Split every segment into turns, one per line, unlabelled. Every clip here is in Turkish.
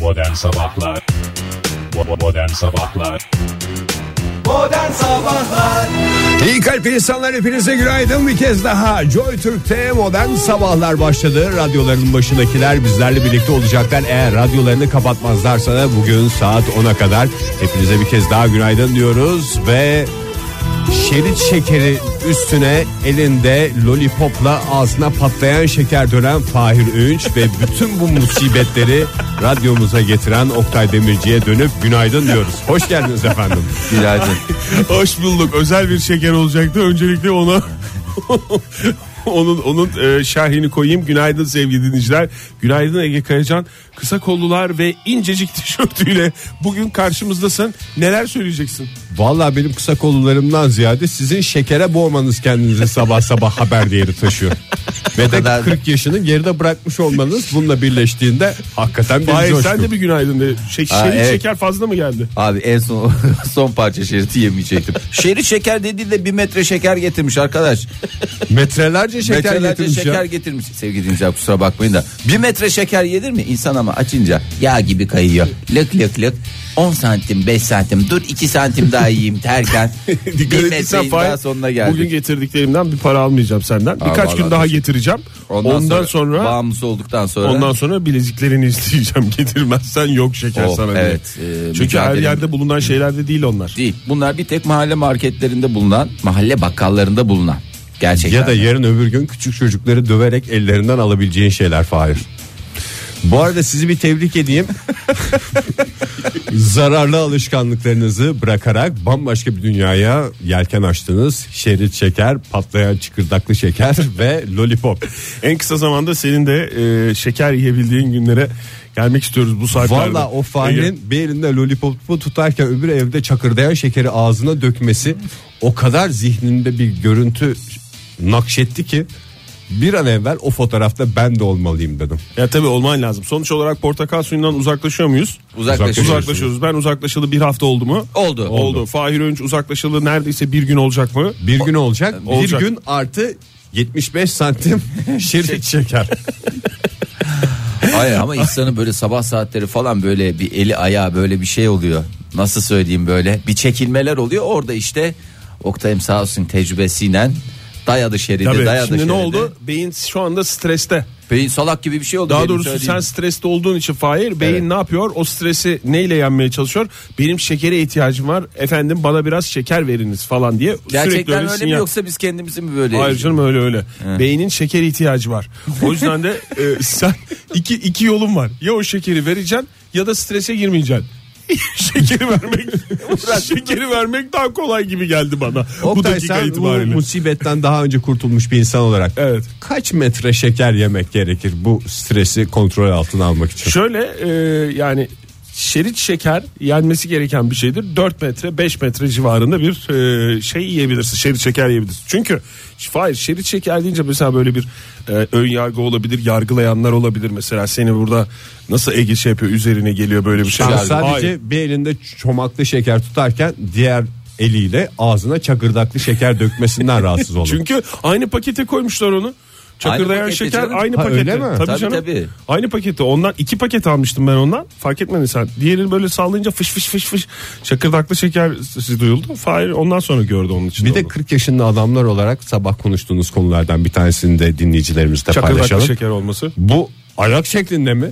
Modern Sabahlar Bo- Modern Sabahlar
Modern Sabahlar
İyi kalp insanlar hepinize günaydın bir kez daha Joy Türk'te modern sabahlar başladı Radyoların başındakiler bizlerle birlikte olacaklar Eğer radyolarını kapatmazlarsa da bugün saat 10'a kadar Hepinize bir kez daha günaydın diyoruz Ve şerit şekeri üstüne elinde lollipopla ağzına patlayan şeker dönen Fahir Öğünç Ve bütün bu musibetleri radyomuza getiren Oktay Demirci'ye dönüp günaydın diyoruz Hoş geldiniz efendim
Günaydın
Hoş bulduk. Özel bir şeker olacaktı. Öncelikle ona onun onun e, şerhini koyayım. Günaydın sevgili dinleyiciler. Günaydın Ege Kayacan. Kısa kollular ve incecik tişörtüyle bugün karşımızdasın. Neler söyleyeceksin?
Vallahi benim kısa kollarımdan ziyade sizin şekere boğmanız kendinizi sabah sabah haber değeri taşıyor. Ve de
kadar da.
40 yaşını geride bırakmış olmanız bununla birleştiğinde hakikaten bir
Hayır
coşku.
sen de bir günaydın de. Şey,
Aa,
şerit
evet.
şeker fazla mı geldi?
Abi en son son parça şeridi yemeyecektim Şerit şeker dediğinde bir metre şeker getirmiş arkadaş
Metrelerce şeker
Metrelerce
getirmiş
şeker
ya.
getirmiş Sevgili dinleyiciler kusura bakmayın da Bir metre şeker yenir mi? İnsan ama açınca yağ gibi kayıyor Lık lık lık 10 santim 5 santim dur 2 santim daha yiyeyim derken
Dikkat
Bir
ettiysen
metrenin
Fahir,
daha sonuna geldik
Bugün getirdiklerimden bir para almayacağım senden. Birkaç
vallahi
gün daha
teşekkür-
getireceğim. Ondan, sonra,
Bağımlısı olduktan sonra
Ondan sonra bileziklerini isteyeceğim. Getirmezsen yok şeker
Oh,
sana diye.
evet, e,
Çünkü her
mücadele-
yerde bulunan şeylerde değil onlar.
değil. Bunlar bir tek mahalle marketlerinde bulunan, mahalle bakkallarında bulunan. Gerçekten.
Ya da yarın öbür gün küçük çocukları döverek ellerinden alabileceğin şeyler Fahir. Bu arada sizi bir tebrik edeyim. Zararlı alışkanlıklarınızı bırakarak bambaşka bir dünyaya yelken açtınız. Şerit şeker, patlayan çıkırdaklı şeker ve lollipop.
En kısa zamanda senin de e, şeker yiyebildiğin günlere gelmek istiyoruz bu saatlerde.
Valla o
Ege,
farenin bir elinde lollipopu tutarken öbür evde çakırdayan şekeri ağzına dökmesi o kadar zihninde bir görüntü nakşetti ki bir an evvel o fotoğrafta ben de olmalıyım dedim.
Ya tabii olman lazım. Sonuç olarak portakal suyundan uzaklaşıyor muyuz?
Uzaklaşıyoruz.
Uzaklaşıyoruz. Ben uzaklaşalı bir hafta oldu mu?
Oldu.
Oldu. Fahir Önç uzaklaşalı neredeyse bir gün olacak mı?
Bir gün olacak,
Olacak.
bir gün artı 75 santim şerit şeker.
Hayır ama insanın böyle sabah saatleri falan böyle bir eli ayağı böyle bir şey oluyor. Nasıl söyleyeyim böyle bir çekilmeler oluyor. Orada işte Oktay'ım sağ olsun tecrübesiyle dayadı şeridi
Tabii.
dayadı
Şimdi
şeridi.
ne oldu? Beyin şu anda streste.
Beyin salak gibi bir şey oldu.
Daha
benim
doğrusu
söylediğim.
sen streste olduğun için Fahir beyin
Evet.
ne yapıyor? O stresi neyle yenmeye çalışıyor? Benim şekere ihtiyacım var. Efendim bana biraz şeker veriniz falan diye. sürekli
Gerçekten öyle, mi
sinyal-
yoksa biz kendimizi mi böyle
Hayır canım öyle öyle. Beynin şeker ihtiyacı var. O yüzden de e, sen iki, iki yolun var. Ya o şekeri vereceksin ya da strese girmeyeceksin. şekeri vermek şekeri vermek daha kolay gibi geldi bana. bu
Oktay
dakika
sen
itibariyle.
bu musibetten daha önce kurtulmuş bir insan olarak
Evet.
kaç metre şeker yemek gerekir bu stresi kontrol altına almak için?
Şöyle e, yani şerit şeker yenmesi gereken bir şeydir. 4 metre 5 metre civarında bir e, şey yiyebilirsin. Şerit şeker yiyebilirsin. Çünkü hayır şerit şeker deyince mesela böyle bir e, ön yargı olabilir. Yargılayanlar olabilir mesela. Seni burada nasıl Ege şey yapıyor üzerine geliyor böyle bir şey.
Yani
Hayır.
sadece bir elinde çomaklı şeker tutarken diğer eliyle ağzına çakırdaklı şeker dökmesinden rahatsız olur. Çünkü
Çünkü aynı pakete koymuşlar onu. Çakırdayan
pakette
şeker
canım.
aynı
Ha,
pakete.
öyle mi?
Tabii,
Tabii,
canım.
tabii.
Aynı pakete. Ondan iki paket almıştım ben ondan. Fark etmedin sen. Diğerini böyle sallayınca fış fış fış fış çakırdaklı şeker sesi duyuldu. Fahir ondan sonra gördü onun için.
bir de 40 yaşında adamlar olarak sabah konuştuğunuz konulardan bir tanesini de dinleyicilerimizle
çakırdaklı
paylaşalım.
şeker olması.
Bu ayak şeklinde mi?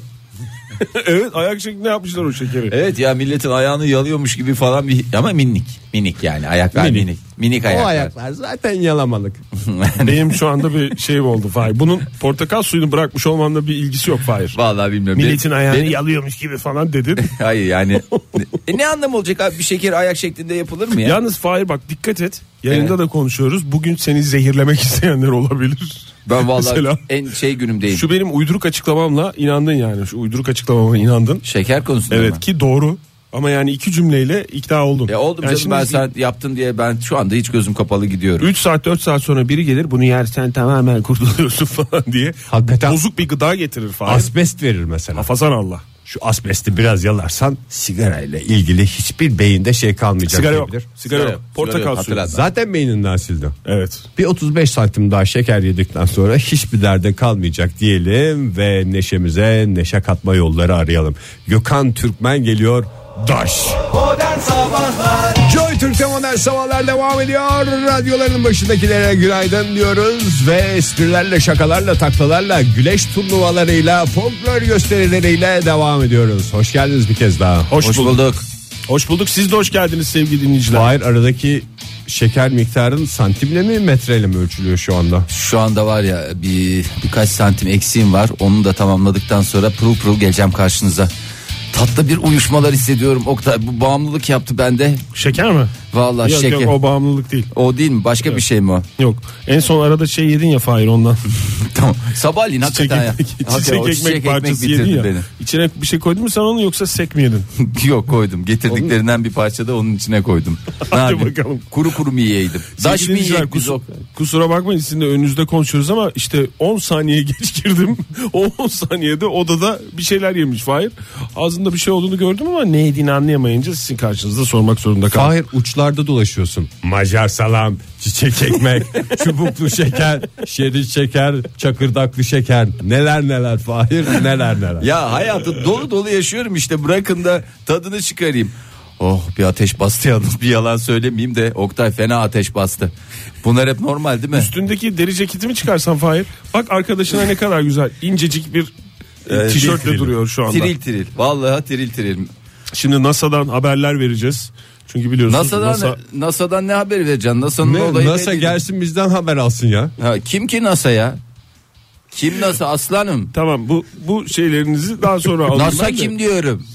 evet ayak şeklinde yapmışlar o şekeri.
Evet ya milletin ayağını yalıyormuş gibi falan bir ama minik. Minik yani ayaklar minik.
Minik.
Minik, ayaklar.
O ayaklar zaten yalamalık.
Benim şu anda bir şey oldu Fahir. Bunun portakal suyunu bırakmış olmanla bir ilgisi yok Fahir.
Vallahi bilmiyorum.
Milletin
Benim-
ayağını
benim-
yalıyormuş gibi falan dedin.
Hayır yani. e ne anlam olacak abi bir şeker ayak şeklinde yapılır mı ya?
Yalnız Fahir bak dikkat et. Yayında
Evet.
da konuşuyoruz. Bugün seni zehirlemek isteyenler olabilir.
ben vallahi
Mesela
en şey günümdeyim.
şu benim uyduruk açıklamamla inandın yani. Şu uyduruk açıklamama inandın.
Şeker konusunda
Evet
mı?
ki doğru. Ama yani iki cümleyle ikna oldun.
Ya oldum
yani
canım ben sen yaptın diye ben şu anda hiç gözüm kapalı gidiyorum.
3 saat 4 saat sonra biri gelir bunu yersen tamamen kurtuluyorsun falan diye.
Hakikaten.
Bozuk bir gıda getirir falan.
Asbest verir mesela.
Hafazan Allah.
Şu asbesti biraz yalarsan sigarayla ilgili hiçbir beyinde şey kalmayacak.
Sigara yok.
diyebilir.
Sigara
Sigara
yok.
yok. Sigara
Portakal
yok.
suyu.
Hatırlat.
Zaten beyninden sildim.
Evet.
Bir 35 santim daha şeker yedikten sonra hiçbir derde kalmayacak diyelim ve neşemize neşe katma yolları arayalım. Gökhan Türkmen geliyor. Daş. Joy Türk'te modern sabahlar devam ediyor. Radyoların başındakilere günaydın diyoruz ve esprilerle, şakalarla, taklalarla, güleş turnuvalarıyla, folklor gösterileriyle devam ediyoruz. Hoş geldiniz bir kez daha.
Hoş,
Hoş
bulduk.
bulduk.
Hoş bulduk. Siz de hoş geldiniz sevgili dinleyiciler.
Hayır aradaki şeker miktarın santimle mi metreyle mi ölçülüyor şu anda?
Şu anda var ya bir birkaç santim eksiğim var. Onu da tamamladıktan sonra pırıl pırıl geleceğim karşınıza. Tatlı bir uyuşmalar hissediyorum. Oktay bu bağımlılık yaptı bende.
Şeker mi?
Vallahi
Yok,
şeker.
yok
o...
o bağımlılık değil.
değil mi? Başka bir şey mi o?
Yok. En son arada şey yedin ya Fahir ondan.
tamam. Sabahleyin
çiçek
hakikaten ya.
ekmek,
Hakikaten
çiçek
o
ekmek parçası
bitirdi
yedin ya.
beni.
İçine bir şey koydun mu sen onu yoksa sek mi yedin?
Yok koydum. Getirdiklerinden bir parça da onun içine koydum. Ne
Hadi
yapayım?
bakalım.
Kuru kuru mu yiyeydim? Daş
Sevgili
mı
dinleyiciler,
yiyeydik biz
kusu-
o?
Kusura bakmayın sizin de önünüzde konuşuyoruz ama işte 10 saniye geç girdim. O 10 saniyede odada bir şeyler yemiş Fahir. Ağzında bir şey olduğunu gördüm ama ne yediğini anlayamayınca sizin karşınızda sormak zorunda kaldım.
Hayır uçlarda dolaşıyorsun. Macar salam, çiçek ekmek, çubuklu şeker, şerit şeker, çakırdaklı şeker. Neler neler Fahir neler neler.
Ya hayatı dolu dolu yaşıyorum işte bırakın da tadını çıkarayım. Oh bir ateş bastı yalnız bir yalan söylemeyeyim de Oktay fena ateş bastı. Bunlar hep normal değil mi?
Üstündeki deri ceketimi çıkarsan Fahir. Bak arkadaşına ne kadar güzel incecik bir e,
Evet,
tişörtle
tiril.
duruyor şu anda.
Tiril tiril. Vallahi tiril tiril.
Şimdi NASA'dan haberler vereceğiz. Çünkü biliyorsunuz
NASA'dan
NASA
NASA'dan ne haber vereceksin? NASA'nın
Ne,
olayı
NASA
belli.
gelsin bizden haber alsın ya.
Ha, kim ki NASA ya? Kim NASA aslanım?
Tamam bu bu şeylerinizi daha sonra alın.
NASA
Ben de-
kim diyorum?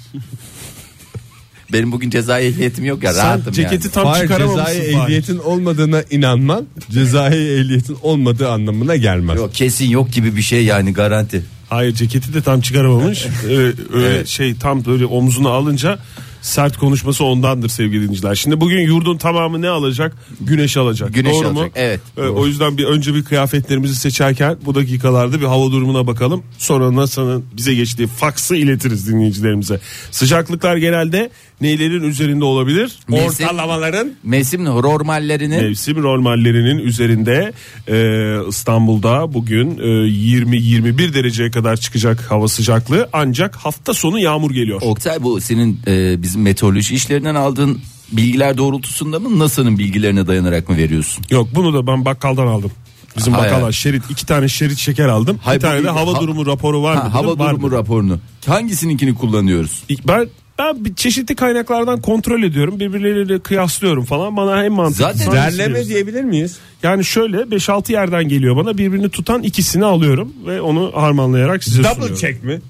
Benim bugün cezai ehliyetim yok ya
Sen
rahatım
ceketi
yani.
tam
Fahir
çıkaramamışsın.
cezai
Fahir.
ehliyetin olmadığına inanman cezai ehliyetin olmadığı anlamına gelmez.
Yok kesin yok gibi bir şey yani garanti.
Hayır ceketi de tam çıkaramamış. Ee, öyle
Evet.
şey tam böyle omzuna alınca sert konuşması ondandır sevgili dinleyiciler. Şimdi bugün yurdun tamamı ne alacak? Güneş alacak.
Güneş
Doğru mu?
alacak, evet.
Ee, o yüzden bir önce bir kıyafetlerimizi seçerken bu dakikalarda bir hava durumuna bakalım. Sonra NASA'nın bize geçtiği faksı iletiriz dinleyicilerimize. Sıcaklıklar genelde neylerin üzerinde olabilir?
Mevsim-
Ortalamaların
Mevsim normallerini
Mevsim normallerinin üzerinde e, İstanbul'da bugün e, 20-21 dereceye kadar çıkacak hava sıcaklığı ancak hafta sonu yağmur geliyor.
Oktay bu senin e, bizim meteoroloji işlerinden aldığın bilgiler doğrultusunda mı NASA'nın bilgilerine dayanarak mı veriyorsun?
Yok bunu da ben bakkaldan aldım. Bizim
Hayır.
bakkala şerit iki tane şerit şeker aldım.
Hayır,
bir tane
bu-
de hava
ha-
durumu raporu var mı?
Ha, hava
dedim, var
durumu
mı?
raporunu. Hangisininkini kullanıyoruz?
Ben ben bir çeşitli kaynaklardan kontrol ediyorum. Birbirleriyle kıyaslıyorum falan. Bana en mantıklı.
Zaten-
hangisi
Derleme
diyorsun?
diyebilir miyiz?
Yani şöyle 5-6 yerden geliyor bana. Birbirini tutan ikisini alıyorum ve onu harmanlayarak size
Double
sunuyorum.
check mi?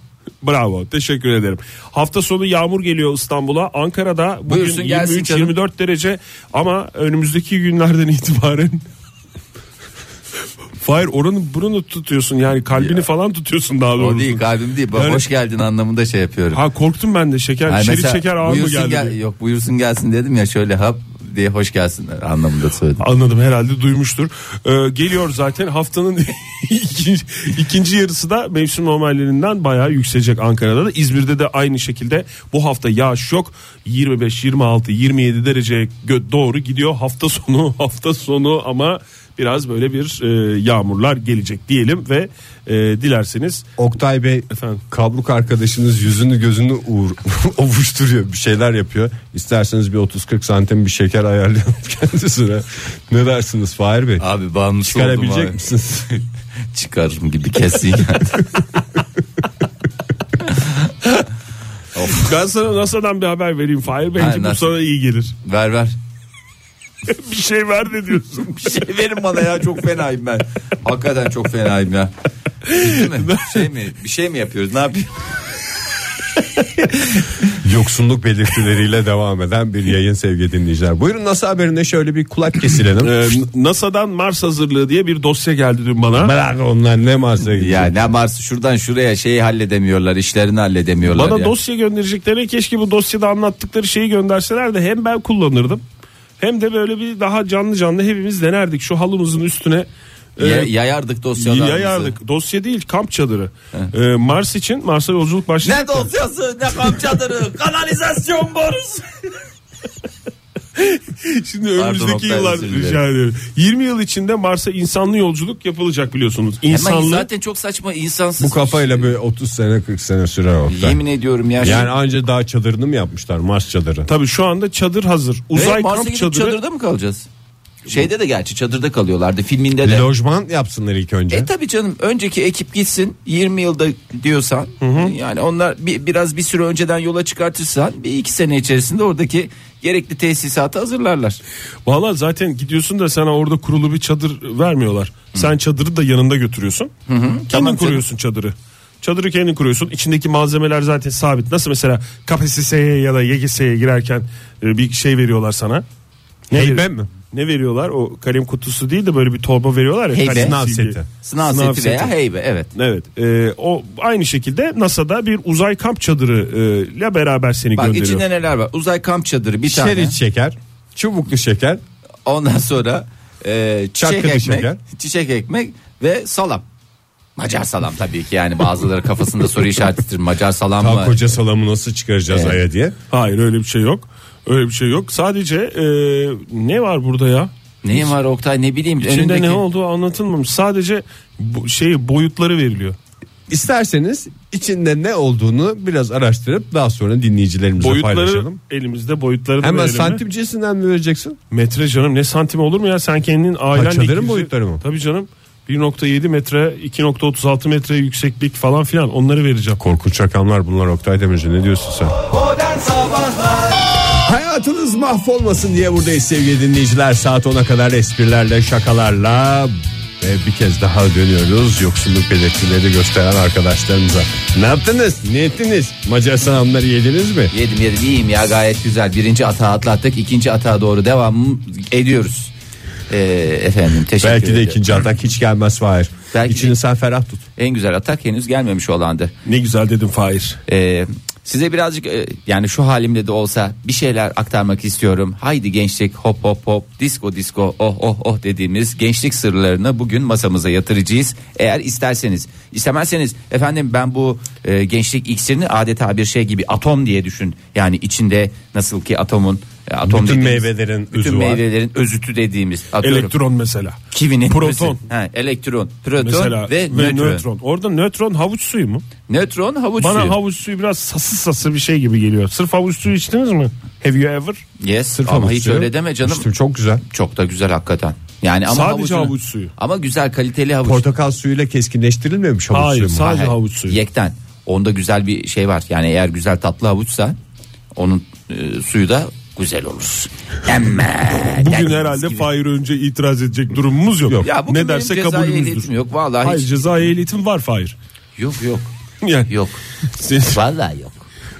Bravo teşekkür ederim. Hafta sonu yağmur geliyor İstanbul'a. Ankara'da bugün
Buyursun, gelsin
23-24 derece ama önümüzdeki günlerden itibaren... Hayır oranın burunu tutuyorsun yani kalbini falan tutuyorsun daha doğrusu.
O değil kalbim değil. Bak,
Yani-
hoş geldin anlamında şey yapıyorum.
Ha korktum ben de şeker
Yani
şerit
mesela
şeker ağır mı
buyursun
geldi?
gel-
diye.
yok buyursun gelsin dedim ya şöyle hap diye hoş gelsin anlamında söyledim.
Anladım herhalde duymuştur. Ee, geliyor zaten haftanın ikinci, ikinci yarısı da mevsim normallerinden bayağı yükselecek Ankara'da da. İzmir'de de aynı şekilde bu hafta yağış yok. 25, 26, 27 dereceye gö- doğru gidiyor hafta sonu hafta sonu ama biraz böyle bir e, yağmurlar gelecek diyelim ve e, dilerseniz
Oktay Bey
Efendim?
kabluk arkadaşınız yüzünü gözünü uğur, ovuşturuyor bir şeyler yapıyor. İsterseniz bir 30-40 santim bir şeker ayarlayalım kendisine. Ne dersiniz Fahir Bey?
Abi bağımlısı oldum
Çıkarabilecek
abi.
misiniz?
Çıkarırım gibi kesin yani.
ben sana NASA'dan bir haber vereyim Fahir
Ha,
bence bu
NASA.
sana iyi gelir.
ver ver.
bir şey ver de diyorsun.
Bir şey verin bana ya çok fenayım ben. Hakikaten çok fenayım ya. Bitti mi? Şey mi? Bir şey mi yapıyoruz? Ne yapıyoruz?
Yoksunluk belirtileriyle devam eden bir yayın sevgili dinleyiciler. Buyurun nasıl haberine şöyle bir kulak
Ee,
kesilelim.
NASA'dan Mars hazırlığı diye bir dosya geldi dün bana.
Merak onlar ne Mars'a gidecek.
Ya ne Mars şuradan şuraya şeyi halledemiyorlar, işlerini halledemiyorlar.
Bana
ya.
dosya gönderecekleri keşke bu dosyada anlattıkları şeyi gönderseler de hem ben kullanırdım hem de böyle bir daha canlı canlı hepimiz denerdik. Şu halımızın üstüne e,
Ya- yayardık dosyalarımızı.
yayardık. Dosya değil kamp çadırı. E, Mars için Mars'a yolculuk başladı.
Ne dosyası ne kamp çadırı kanalizasyon borusu.
Şimdi
Pardon,
önümüzdeki
Oktay,
yıllar
özür dilerim.
rica ederim. 20 yıl içinde Mars'a insanlı yolculuk yapılacak biliyorsunuz.
Hemen
İnsanlı
zaten çok saçma insansız.
Bu kafayla bir 30 sene 40 sene sürer orta.
Yemin ediyorum ya.
Yani anca daha çadırını mı yapmışlar Mars çadırı?
Tabii şu anda çadır hazır.
Ve
Uzay
Mars'a
kamp
gidip
çadırı.
çadırda mı kalacağız? Şeyde de gerçi çadırda kalıyorlardı filminde de.
Lojman yapsınlar ilk önce.
E tabi canım önceki ekip gitsin 20 yılda diyorsan yani onlar bir, biraz bir süre önceden yola çıkartırsan bir iki sene içerisinde oradaki gerekli tesisatı hazırlarlar.
Valla zaten gidiyorsun da sana orada kurulu bir çadır vermiyorlar. Sen çadırı da yanında götürüyorsun. Kendin
Tamam
kuruyorsun çadırı. Çadırı kendin kuruyorsun. İçindeki malzemeler zaten sabit. Nasıl mesela KPSS'ye ya da YGS'ye girerken e, bir şey veriyorlar sana.
Heybe
veri-
mi?
Ne veriyorlar? O kalem kutusu değil de böyle bir torba veriyorlar ya.
Heybe.
kalem
Sınav
silgi.
seti.
Sınav, seti, veya heybe evet.
Evet. e, o aynı şekilde NASA'da bir uzay kamp çadırı e, ile beraber seni
Bak
gönderiyor.
içinde neler var uzay kamp çadırı bir tane
Şerit şeker, çubuklu şeker,
ondan sonra e, çiçek
Çakılı
ekmek
şeker.
çiçek ekmek ve salam. Macar salam tabii ki yani bazıları kafasında soru işaretidir Macar salam
daha
mı?
koca salamı nasıl çıkaracağız
Evet.
aya diye.
Hayır öyle bir şey yok. Öyle bir şey yok. Sadece e, ne var burada ya?
Neyin var Oktay ne bileyim.
İçinde
önündeki-
ne olduğu anlatılmamış. Sadece bu, şey boyutları veriliyor.
İsterseniz içinde ne olduğunu biraz araştırıp daha sonra dinleyicilerimize
Boyutları
paylaşalım.
elimizde boyutları da
Hemen
verelim mi?
santimcesinden mi vereceksin?
Metre canım ne santim olur mu ya? Sen kendin ailen
çadırın boyutları mı?
Tabii canım. 1.7 metre 2.36 metre yükseklik falan filan onları vereceğim.
Korkunç rakamlar bunlar Oktay Demirci ne diyorsun sen? Hayatınız mahvolmasın diye buradayız sevgili dinleyiciler. Saat 10'a kadar esprilerle şakalarla ve bir kez daha dönüyoruz yoksulluk belirtileri gösteren arkadaşlarımıza. Ne yaptınız? Ne ettiniz? Macar salamları yediniz mi?
Yedim yedim iyiyim ya gayet güzel. Birinci atağı atlattık ikinci atağa doğru devam ediyoruz. Ee, efendim teşekkür
Belki de
ederim.
ikinci atak hiç gelmez Fahir.
Belki
İçini
de-
sen ferah tut.
En güzel atak henüz gelmemiş olandı.
Ne güzel dedim Fahir.
Ee, size birazcık e, yani şu halimle de olsa bir şeyler aktarmak istiyorum. Haydi gençlik hop hop hop disco disco oh oh oh dediğimiz gençlik sırlarını bugün masamıza yatıracağız. Eğer isterseniz istemezseniz efendim ben bu e, gençlik iksirini adeta bir şey gibi atom diye düşün. Yani içinde nasıl ki atomun e, atom
Bütün
dediğimiz-
meyvelerin
bütün
özü var.
meyvelerin özütü dediğimiz atıyorum.
Elektron mesela.
Kivinin
Proton.
özü. Ha, elektron, proton
Mesela
ve, nötron.
Orada nötron havuç suyu mu?
Nötron havuç
Bana
suyu.
havuç suyu biraz sası sası bir şey gibi geliyor. Sırf havuç suyu içtiniz mi? Have you ever?
yes,
Sırf
ama
havuç
hiç
suyu.
öyle deme canım.
İşte çok güzel.
Çok da güzel hakikaten. Yani ama
Sadece
havucunu-
havuç suyu.
Ama güzel kaliteli havuç.
Portakal suyuyla keskinleştirilmemiş havuç
Hayır,
suyu mu?
sağ- Sadece
Hayır,
havuç suyu.
Yekten. Onda güzel bir şey var. Yani eğer güzel tatlı havuçsa onun e, suyu da güzel olur. Emme.
Bugün herhalde Fahir önce itiraz edecek durumumuz yok.
Ya bugün
ne derse
benim cezai ehliyetim
kabulümüzdür.
yok. Vallahi
Hayır
hiç-
ceza ehliyetim var Fahir.
Yok yok.
Yani
Yok.
siz-
Vallahi yok.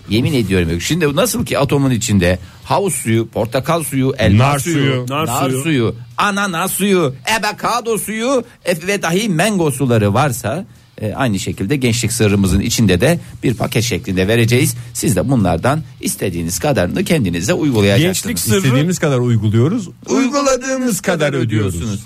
Yemin ediyorum yok. Şimdi nasıl ki atomun içinde havuz suyu, portakal suyu, elma
Nar
suyu,
suyu,
nar,
nar
suyu.
suyu.
ananas suyu, avokado suyu e- ve dahi mango suları varsa e, aynı şekilde gençlik sırrımızın içinde de bir paket şeklinde vereceğiz. Siz de bunlardan istediğiniz kadarını kendinize uygulayacaksınız.
gençlik sırrı,
İstediğimiz kadar uyguluyoruz. Uyguladığımız kadar ödüyorsunuz.
ödüyorsunuz.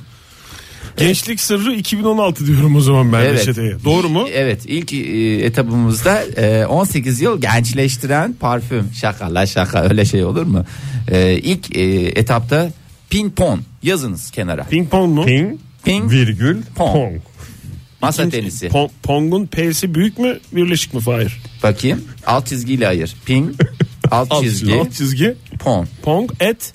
gençlik sırrı 2016 diyorum o zaman ben
Evet.
reçeteye. Doğru mu?
Evet ilk e, etabımızda e, 18 yıl gençleştiren parfüm şaka la şaka öyle şey olur mu? E, ilk e, etapta ping pong yazınız kenara. Ping,
Ping pong mu?
Ping, virgül,
pong.
pong.
Masa tenisi.
Pong- Pong'un P'si büyük mü birleşik mi Fahir?
Bakayım alt çizgiyle ayır. Ping alt, çizgi
Alt çizgi.
pong.
Pong at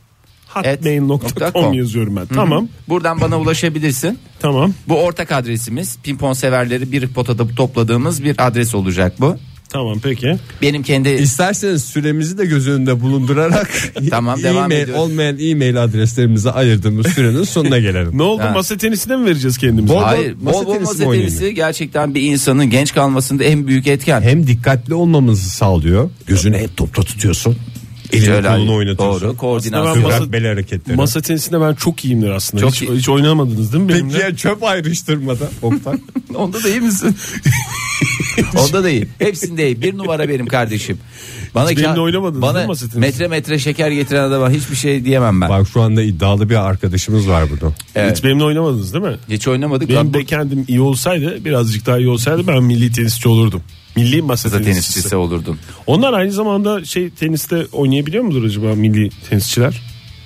hotmail.com
com.
yazıyorum ben. Tamam.
Buradan bana ulaşabilirsin.
Tamam.
Bu ortak adresimiz. Ping pong severleri bir potada topladığımız bir adres olacak bu.
Tamam peki.
Benim kendi
İsterseniz süremizi de göz önünde bulundurarak
Tamam, devam
e-mail,
ediyoruz.
olmayan e-mail adreslerimize ayırdığımız sürenin sonuna gelelim.
Ne oldu
Ha.
masa tenisine mi vereceğiz kendimizi?
Bol-
Hayır,
masa
bol bol
tenisi
masa
mi
tenisi gerçekten bir insanın genç kalmasında en büyük etken.
Hem dikkatli olmamızı sağlıyor. Gözünü hep topta tutuyorsun. Elini
Şöyle
kolunu
ayır.
oynatıyorsun.
Doğru
Aslında
koordinasyon.
ben masa-
Kıvrak bel hareketleri.
Masa tenisinde ben çok iyiyimdir aslında.
Çok
hiç,
iyi.
hiç oynamadınız değil mi
Peki
benimle?
ya çöp ayrıştırmada Oktay?
Onda da iyi misin? Onda değil. Hepsinde iyi. Bir numara benim kardeşim. Bana
Hiç benimle
ka-
oynamadınız değil
bana
mi Masat'ın?
metre metre şeker getiren adama hiçbir şey diyemem ben.
Bak şu anda iddialı bir arkadaşımız var burada.
Evet.
Hiç benimle oynamadınız değil mi?
Hiç oynamadık.
Benim
Lan bu-
de kendim iyi olsaydı birazcık daha iyi olsaydı ben milli tenisçi olurdum. Milli masa
Masa
tenisçisi.
tenisçisi olurdum.
Onlar aynı zamanda şey teniste oynayabiliyor mudur acaba milli tenisçiler?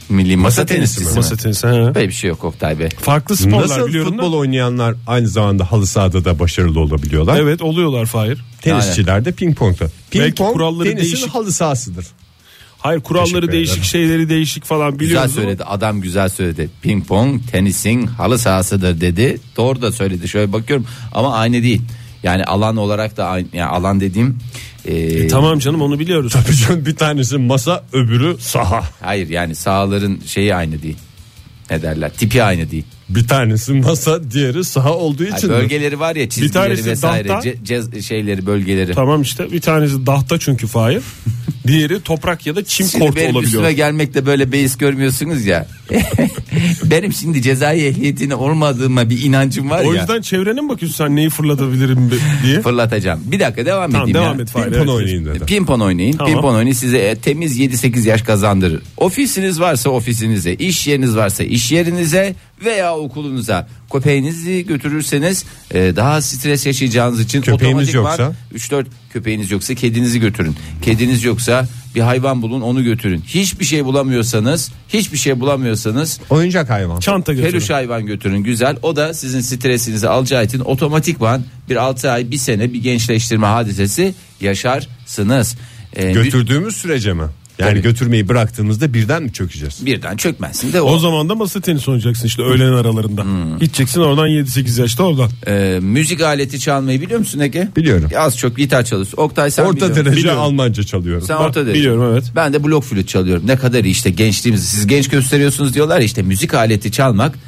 Milli masa, tenisçisi mi?
Masa tenisi. ha.
Böyle bir şey yok Oktay Bey.
Farklı sporlar
Nasıl
biliyorum da-
futbol oynayanlar aynı zamanda halı sahada da başarılı olabiliyorlar.
Evet oluyorlar Fahir.
Tenisçiler de ping pongda.
Belki
Ping pong
kuralları
tenisin
değişik.
halı sahasıdır.
Hayır
Teşekkür
kuralları
ederim.
değişik şeyleri değişik falan biliyoruz. ama-
Güzel söyledi adam güzel söyledi. Ping pong tenisin halı sahasıdır dedi. Doğru da söyledi. Şöyle bakıyorum ama aynı değil. Yani alan olarak da aynı yani alan dediğim e,
Tamam canım onu biliyoruz.
Öpücüğün bir tanesi masa öbürü saha.
hayır yani sahaların şeyi aynı değil. Ne derler? Tipi aynı değil.
Bir tanesi masa diğeri saha olduğu
Yani
için. mi?
bölgeleri var ya çizgileri
tanesi
vesaire
dahta.
ce- cez- şeyleri bölgeleri.
Tamam işte bir tanesi dahta çünkü Fahir. Diğeri toprak ya da çim
Şimdi
kort
benim üstüme
olabiliyor.
gelmekle böyle beis görmüyorsunuz ya. benim şimdi cezai ehliyetine olmadığıma bir inancım var
O
ya.
yüzden çevrene mi bakıyorsun sen neyi fırlatabilirim be- diye.
Fırlatacağım. Bir dakika devam
Tamam
edeyim
devam
ya.
et Fahir.
Ping
evet.
pong oynayın dedi.
Pimpon oynayın.
Tamam.
Pimpon oynayın size e, temiz 7-8 yaş kazandırır. Ofisiniz varsa ofisinize, iş yeriniz varsa iş yerinize veya okulunuza. Köpeğinizi götürürseniz e, daha stres yaşayacağınız için
Köpeğimiz yoksa?
3-4 köpeğiniz yoksa kedinizi götürün. Kediniz yoksa bir hayvan bulun onu götürün. Hiçbir şey bulamıyorsanız, hiçbir şey bulamıyorsanız
Oyuncak hayvan.
Çanta götürün.
Peluş hayvan götürün güzel. O da sizin stresinizi alacağı için otomatikman bir 6 ay bir sene bir gençleştirme hadisesi yaşarsınız. Ee, bir-
Götürdüğümüz sürece mi? Yani
Tabii.
götürmeyi bıraktığımızda birden mi çökeceğiz?
birden çökmezsin de o. Hmm.
O zaman da masa tenisi oynayacaksın işte öğlen aralarında. Gideceksin oradan 7-8 yaşta oradan.
Ee, müzik aleti çalmayı biliyor musun Ege?
Biliyorum.
Az çok gitar çalıyorsun. Oktay sen
Orta
biliyorsun.
derece
Biliyorum.
Almanca çalıyorum.
Sen
Ben
orta derece.
biliyorum, evet.
Ben de blok flüt çalıyorum. Ne kadar iyi işte gençliğimizi siz genç gösteriyorsunuz diyorlar ya işte müzik aleti çalmak.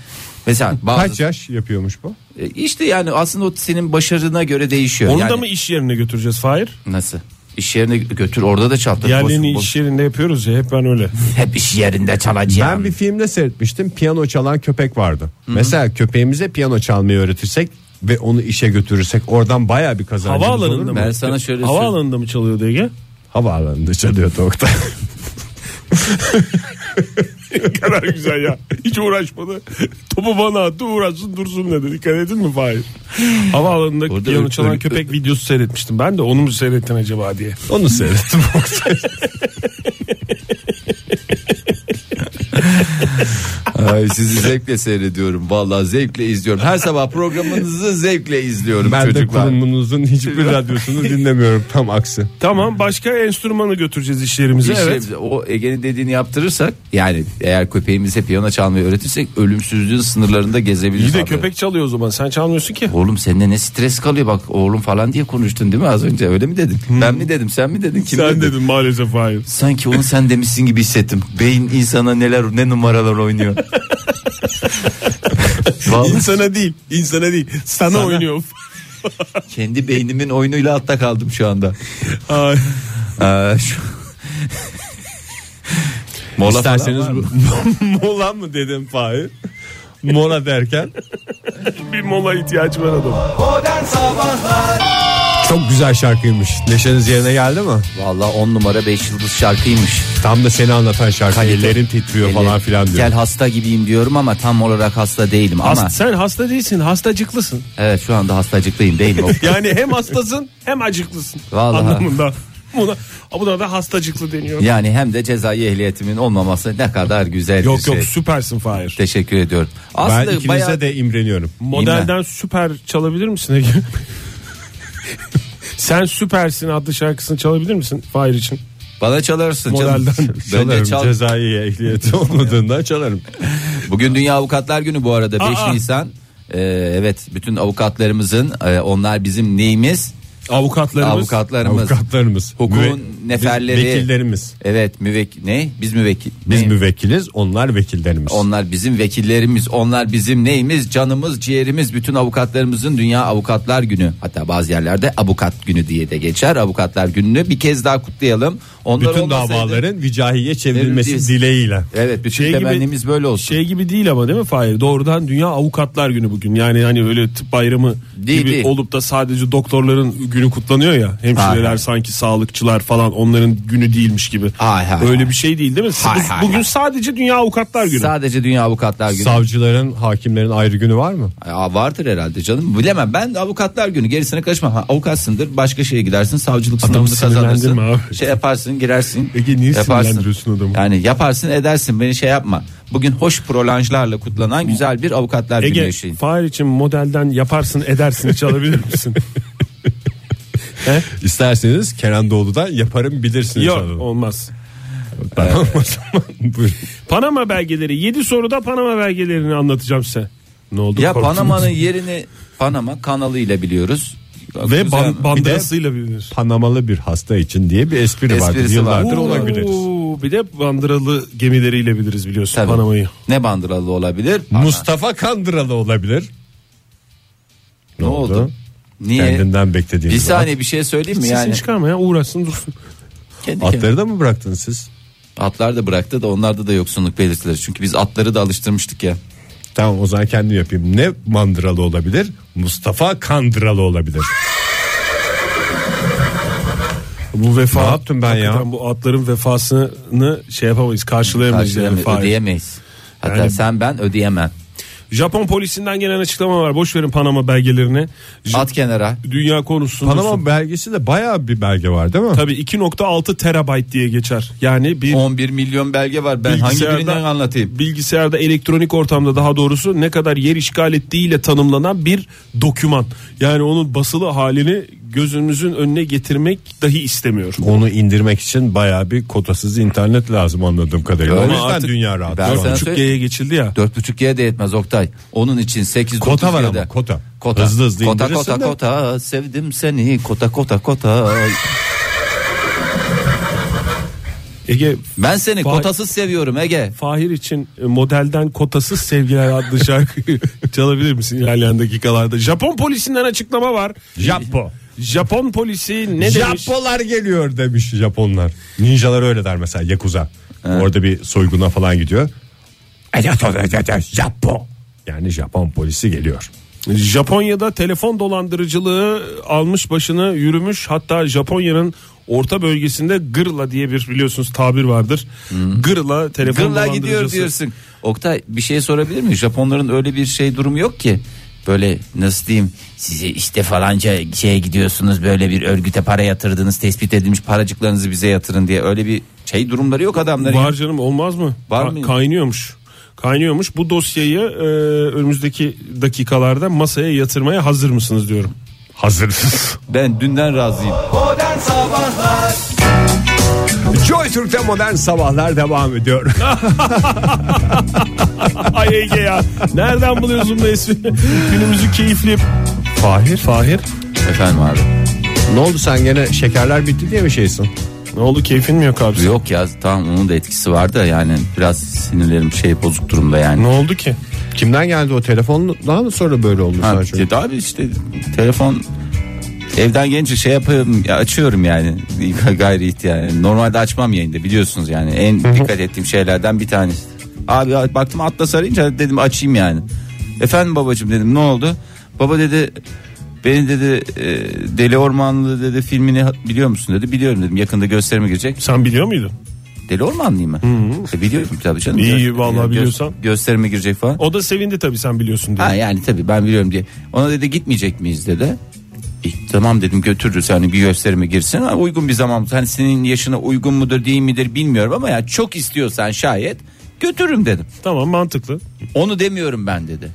Mesela bazı
Kaç yaş yapıyormuş bu?
Ee, işte yani aslında o senin başarına göre değişiyor.
Onu
yani,
da mı iş yerine götüreceğiz Fahir?
Nasıl? İş yerine götür orada da çal.
Diğerlerini
Boş-
iş yerinde yapıyoruz ya hep ben öyle.
Hep iş yerinde çalacağım.
Ben bir filmde seyretmiştim. Piyano çalan köpek vardı. Mesela köpeğimize piyano çalmayı öğretirsek ve onu işe götürürsek oradan baya bir kazancımız olur
Havaalanında
mu?
mı?
Ben sana şöyle
Havaalanında mı çalıyordu Ege?
Havaalanında çalıyordu Oktay.
kadar güzel ya. Hiç uğraşmadı. Topu bana attı uğraşsın dursun dedi. Dikkat edin mi Fahir? Havaalanında
Orada
piyano
ö-
çalan
ö-
köpek videosu seyretmiştim. Ben de onu mu seyrettin acaba diye.
Onu seyrettim Oktay.
Ay, sizi zevkle seyrediyorum. Vallahi zevkle izliyorum. Her sabah programınızı zevkle izliyorum
Ben de
çocuklar.
kurumunuzun hiçbir radyosunu dinlemiyorum. Tam aksi.
Tamam başka enstrümanı götüreceğiz iş yerimize.
İş
evet.
yeri- o Ege'nin dediğini yaptırırsak yani eğer köpeğimize piyano çalmayı öğretirsek ölümsüzlüğün sınırlarında
İyi
gezebiliriz.
de
abi.
köpek çalıyor o zaman. Sen çalmıyorsun ki.
Oğlum sende ne stres kalıyor bak oğlum falan diye konuştun değil mi az önce öyle mi dedin? Ben mi dedim sen mi dedin kim dedi?
Hmm. dedin maalesef Fahir.
Sanki onu sen demişsin gibi hissettim. Beyin insana neler ne numaralar oynuyor. Vallahi
İnsana değil. insana değil. Sana, oynuyor.
kendi beynimin oyunuyla altta kaldım şu anda.
Ay.
Ee, şu... Mola
İsterseniz
falan var
bu...
mı?
Mola mı dedim Fahir? Mola derken
Bir mola ihtiyacı var adam.
çok güzel şarkıymış. Neşeniz yerine geldi mi?
Vallahi 10 numara 5 yıldız şarkıymış.
Tam da seni anlatan şarkı. Ellerin titriyor falan
Elleri-
filan diyor.
Gel hasta gibiyim diyorum ama tam olarak hasta değilim ama
sen hasta değilsin hastacıklısın.
evet şu anda hastacıklıyım değil mi?
Yani hem hastasın hem acıklısın.
Vallahi.
Anlamında. Buna, buna da hastacıklı deniyor.
yani hem de cezai ehliyetimin olmaması ne kadar güzel bir
Yok
şey.
yok süpersin Fahir.
Teşekkür ediyorum.
Ben
Aslında
ikinize
bayağı
de imreniyorum.
Modelden süper çalabilir misin Ege? Sen süpersin adlı şarkısını çalabilir misin Fahir için?
bana çalarsın canım.
Modelden
Ben de
Çalarım
çal-
cezai ehliyeti olmadığından çalarım.
Bugün Dünya Avukatlar Günü bu arada 5
Aa.
Nisan. Ee, evet bütün avukatlarımızın e, onlar bizim neyimiz?
Avukatlarımız.
Avukatlarımız.
Avukatlarımız.
Hukukun
müve-
neferleri.
biz Vekillerimiz.
Evet müvek ne? Biz müvekil.
Biz
ne?
müvekkiliz onlar vekillerimiz.
Onlar bizim vekillerimiz, onlar bizim neyimiz, canımız, ciğerimiz. Bütün avukatlarımızın Dünya Avukatlar Günü. Hatta bazı yerlerde avukat günü diye de geçer. Avukatlar gününü bir kez daha kutlayalım. Onlar
Bütün
olmasaydı-
davaların vicahiye çevrilmesi
Veririz.
dileğiyle.
Evet bütün
Şey gibi-
temennimiz böyle olsun.
Şey gibi değil ama değil mi Fahir? Doğrudan Dünya Avukatlar Günü bugün. Yani hani öyle tıp bayramı
Değil,
gibi
değil.
olup da sadece doktorların günü kutlanıyor ya. Hemşireler
Hayır.
sanki sağlıkçılar falan onların günü değilmiş gibi.
Hayır, hayır,
öyle
hayır.
bir şey değil değil mi?
Hayır,
Bu-
hayır,
bugün
hayır.
sadece Dünya Avukatlar Günü.
Sadece Dünya Avukatlar Günü.
Savcıların, hakimlerin ayrı günü var mı?
Ya vardır herhalde canım. Bilemem ben avukatlar günü gerisine karışmam. Ha, avukatsındır başka şeye gidersin savcılık sınavını kazanırsın.
sinirlendirme abi.
Şey yaparsın girersin.
Ege, niye sinirlendiriyorsun adamı?
Yani yaparsın edersin beni şey yapma. Bugün hoş prolanjlarla kutlanan güzel bir avukatlar günü
Ege
yaşayın.
Fahir için modelden yaparsın edersin çalabilir misin?
İsterseniz Kenan Doğulu'dan yaparım bilirsiniz.
Yok
adını.
olmaz.
Tamam o zaman buyurun.
Panama belgeleri 7 soruda Panama belgelerini anlatacağım size. Ne oldu?
Ya
korktunuz?
Panama'nın yerini Panama kanalıyla biliyoruz.
ve
Güzel-
ban- bandırasıyla bilinir.
Panamalı bir hasta için diye bir espri
Esprisi
vardır.
vardır.
Yıllardır
Oo.
ona güleriz.
Oo, Bir de bandıralı gemileriyle biliriz biliyorsun
Tabii.
Panama'yı.
Ne bandıralı olabilir?
Mustafa Kandıralı olabilir.
Ne oldu? Niye?
Kendinden beklediğiniz.
Bir saniye bir şey söyleyeyim mi
Sesini
yani?
çıkarma ya uğraşsın dursun.
Kendi
at.
kendine-
Atları da mı bıraktınız siz?
Atlar da bıraktı da onlarda da yoksunluk belirtileri. Çünkü biz atları da alıştırmıştık ya.
Tamam o zaman kendim yapayım. Ne mandıralı olabilir? Mustafa Kandıralı olabilir.
Bu vefa.
Ne yaptım ben
Hakikaten
ya?
Bu atların vefasını şey yapamayız karşılayamayız. yani
Karşılayamay-
Fahir.
ödeyemeyiz. Hatta
Yani-
sen ben ödeyemem.
Japon polisinden gelen açıklama var. Boş verin Panama belgelerini. J-
At kenara.
Dünya konusunda.
Panama belgesi de bayağı bir belge var değil mi?
Tabii 2.6 terabayt diye geçer. Yani bir
11 milyon belge var. Ben hangi
Bilgisayarda-
birinden anlatayım?
bilgisayarda elektronik ortamda daha doğrusu ne kadar yer işgal ettiğiyle tanımlanan bir doküman. Yani onun basılı halini gözümüzün önüne getirmek dahi istemiyor.
Onu indirmek için bayağı bir kotasız internet lazım anladığım kadarıyla.
Öyle
o yüzden
artık-
dünya rahat.
Ben
Şu an.
sana-
4.5G'ye geçildi ya.
4.5G de yetmez Oktay. Onun için 8
Kota
9
var
G'de.
ama, kota.
Kota.
Hızlı hızlı
kota,
indirirsin
kota,
de.
kota, sevdim seni kota kota kota.
Ege
Ben seni
Vay.
kotasız seviyorum Ege.
Fahir için e, modelden kotasız sevgiler adlı şarkıyı çalabilir misin ilerleyen dakikalarda? Japon polisinden açıklama var.
Japo.
Japon polisi ne demiş?
Japolar geliyor demiş Japonlar. Ninjalar öyle der mesela Yakuza. Orada bir soyguna falan gidiyor. Japo. Yani Japon polisi geliyor.
Japonya'da telefon dolandırıcılığı almış başını yürümüş. Hatta Japonya'nın orta bölgesinde gırla diye bir biliyorsunuz tabir vardır. Gırla telefon
Hmm. Gırla gidiyor
dolandırıcısı.
diyorsun. Oktay bir şey sorabilir miyim? Japonların öyle bir şey durumu yok ki. Böyle nasıl diyeyim size işte falanca şeye gidiyorsunuz böyle bir örgüte para yatırdınız tespit edilmiş paracıklarınızı bize yatırın diye öyle bir şey durumları yok adamların.
Var canım olmaz mı?
Var
Ka-
mı?
Kaynıyormuş. Kaynıyormuş. Bu dosyayı e, önümüzdeki dakikalarda masaya yatırmaya hazır mısınız diyorum.
Hazırsız.
Ben dünden razıyım.
Joy Türk'te modern sabahlar devam ediyor.
Ay Ege ya. Nereden buluyorsun bu ismi? Günümüzü keyifli. Fahir. Fahir.
Efendim abi.
ne oldu sen gene şekerler bitti diye mi şeysin?
Ne oldu keyfin mi yok abi?
Yok ya tamam onun da etkisi var da yani biraz sinirlerim şey bozuk durumda yani.
Ne oldu ki?
Kimden geldi o telefon? Daha mı sonra böyle oldu?
Ha,
sadece?
dedi abi işte telefon evden gelince şey yapıyorum ya açıyorum yani gayri ihtiyacı. Normalde açmam yayında biliyorsunuz yani en dikkat ettiğim şeylerden bir tanesi. Abi baktım Atlas arayınca dedim açayım yani. Efendim babacığım dedim ne oldu? Baba dedi beni dedi e, Deli Ormanlı dedi filmini ha- biliyor musun dedi. Biliyorum dedim yakında gösterime girecek.
Sen biliyor muydun?
Deli Ormanlı mı? E, biliyorum tabii canım.
İyi,
Gö-
vallahi
gö-
biliyorsan.
Gösterime girecek falan.
O da sevindi tabii sen biliyorsun diye.
Ha yani tabii ben biliyorum diye. Ona dedi gitmeyecek miyiz dedi. E, tamam dedim götürürüz hani bir gösterime girsin. Ha, uygun bir zaman hani senin yaşına uygun mudur değil midir bilmiyorum ama yani çok istiyorsan şayet götürürüm dedim.
Tamam mantıklı.
Onu demiyorum ben dedi.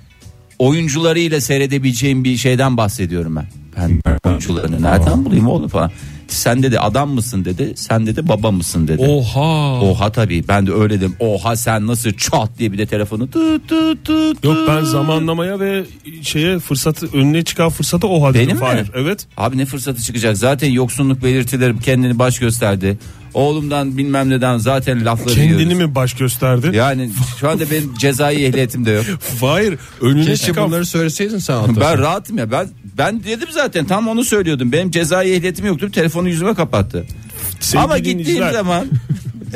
Oyuncularıyla seyredebileceğim bir şeyden bahsediyorum ben. Ben oyuncularını nereden bulayım oğlum falan. Sen dedi adam mısın dedi. Sen dedi baba mısın dedi.
Oh. Oha.
Oha tabii ben de öyle dedim. Oha sen nasıl çat diye bir de telefonu tut tut tut.
Yok
tut.
ben zamanlamaya ve şeye fırsatı önüne çıkan fırsatı oha dedim
Benim mi?
Fahir. Evet.
Abi ne fırsatı çıkacak zaten yoksunluk belirtileri kendini baş gösterdi. Oğlumdan bilmem neden zaten lafları
Kendini
yiyoruz.
mi baş gösterdi?
Yani şu anda benim cezai ehliyetim de yok.
Fahir önüne
Keşke
çıkan
bunları söyleseydin sen Atlas.
ben rahatım ya ben ben dedim zaten tam onu söylüyordum. Benim cezai ehliyetim yoktu telefonu yüzüme kapattı.
Sevgili
Ama gittiğim
dinleyiciler,
zaman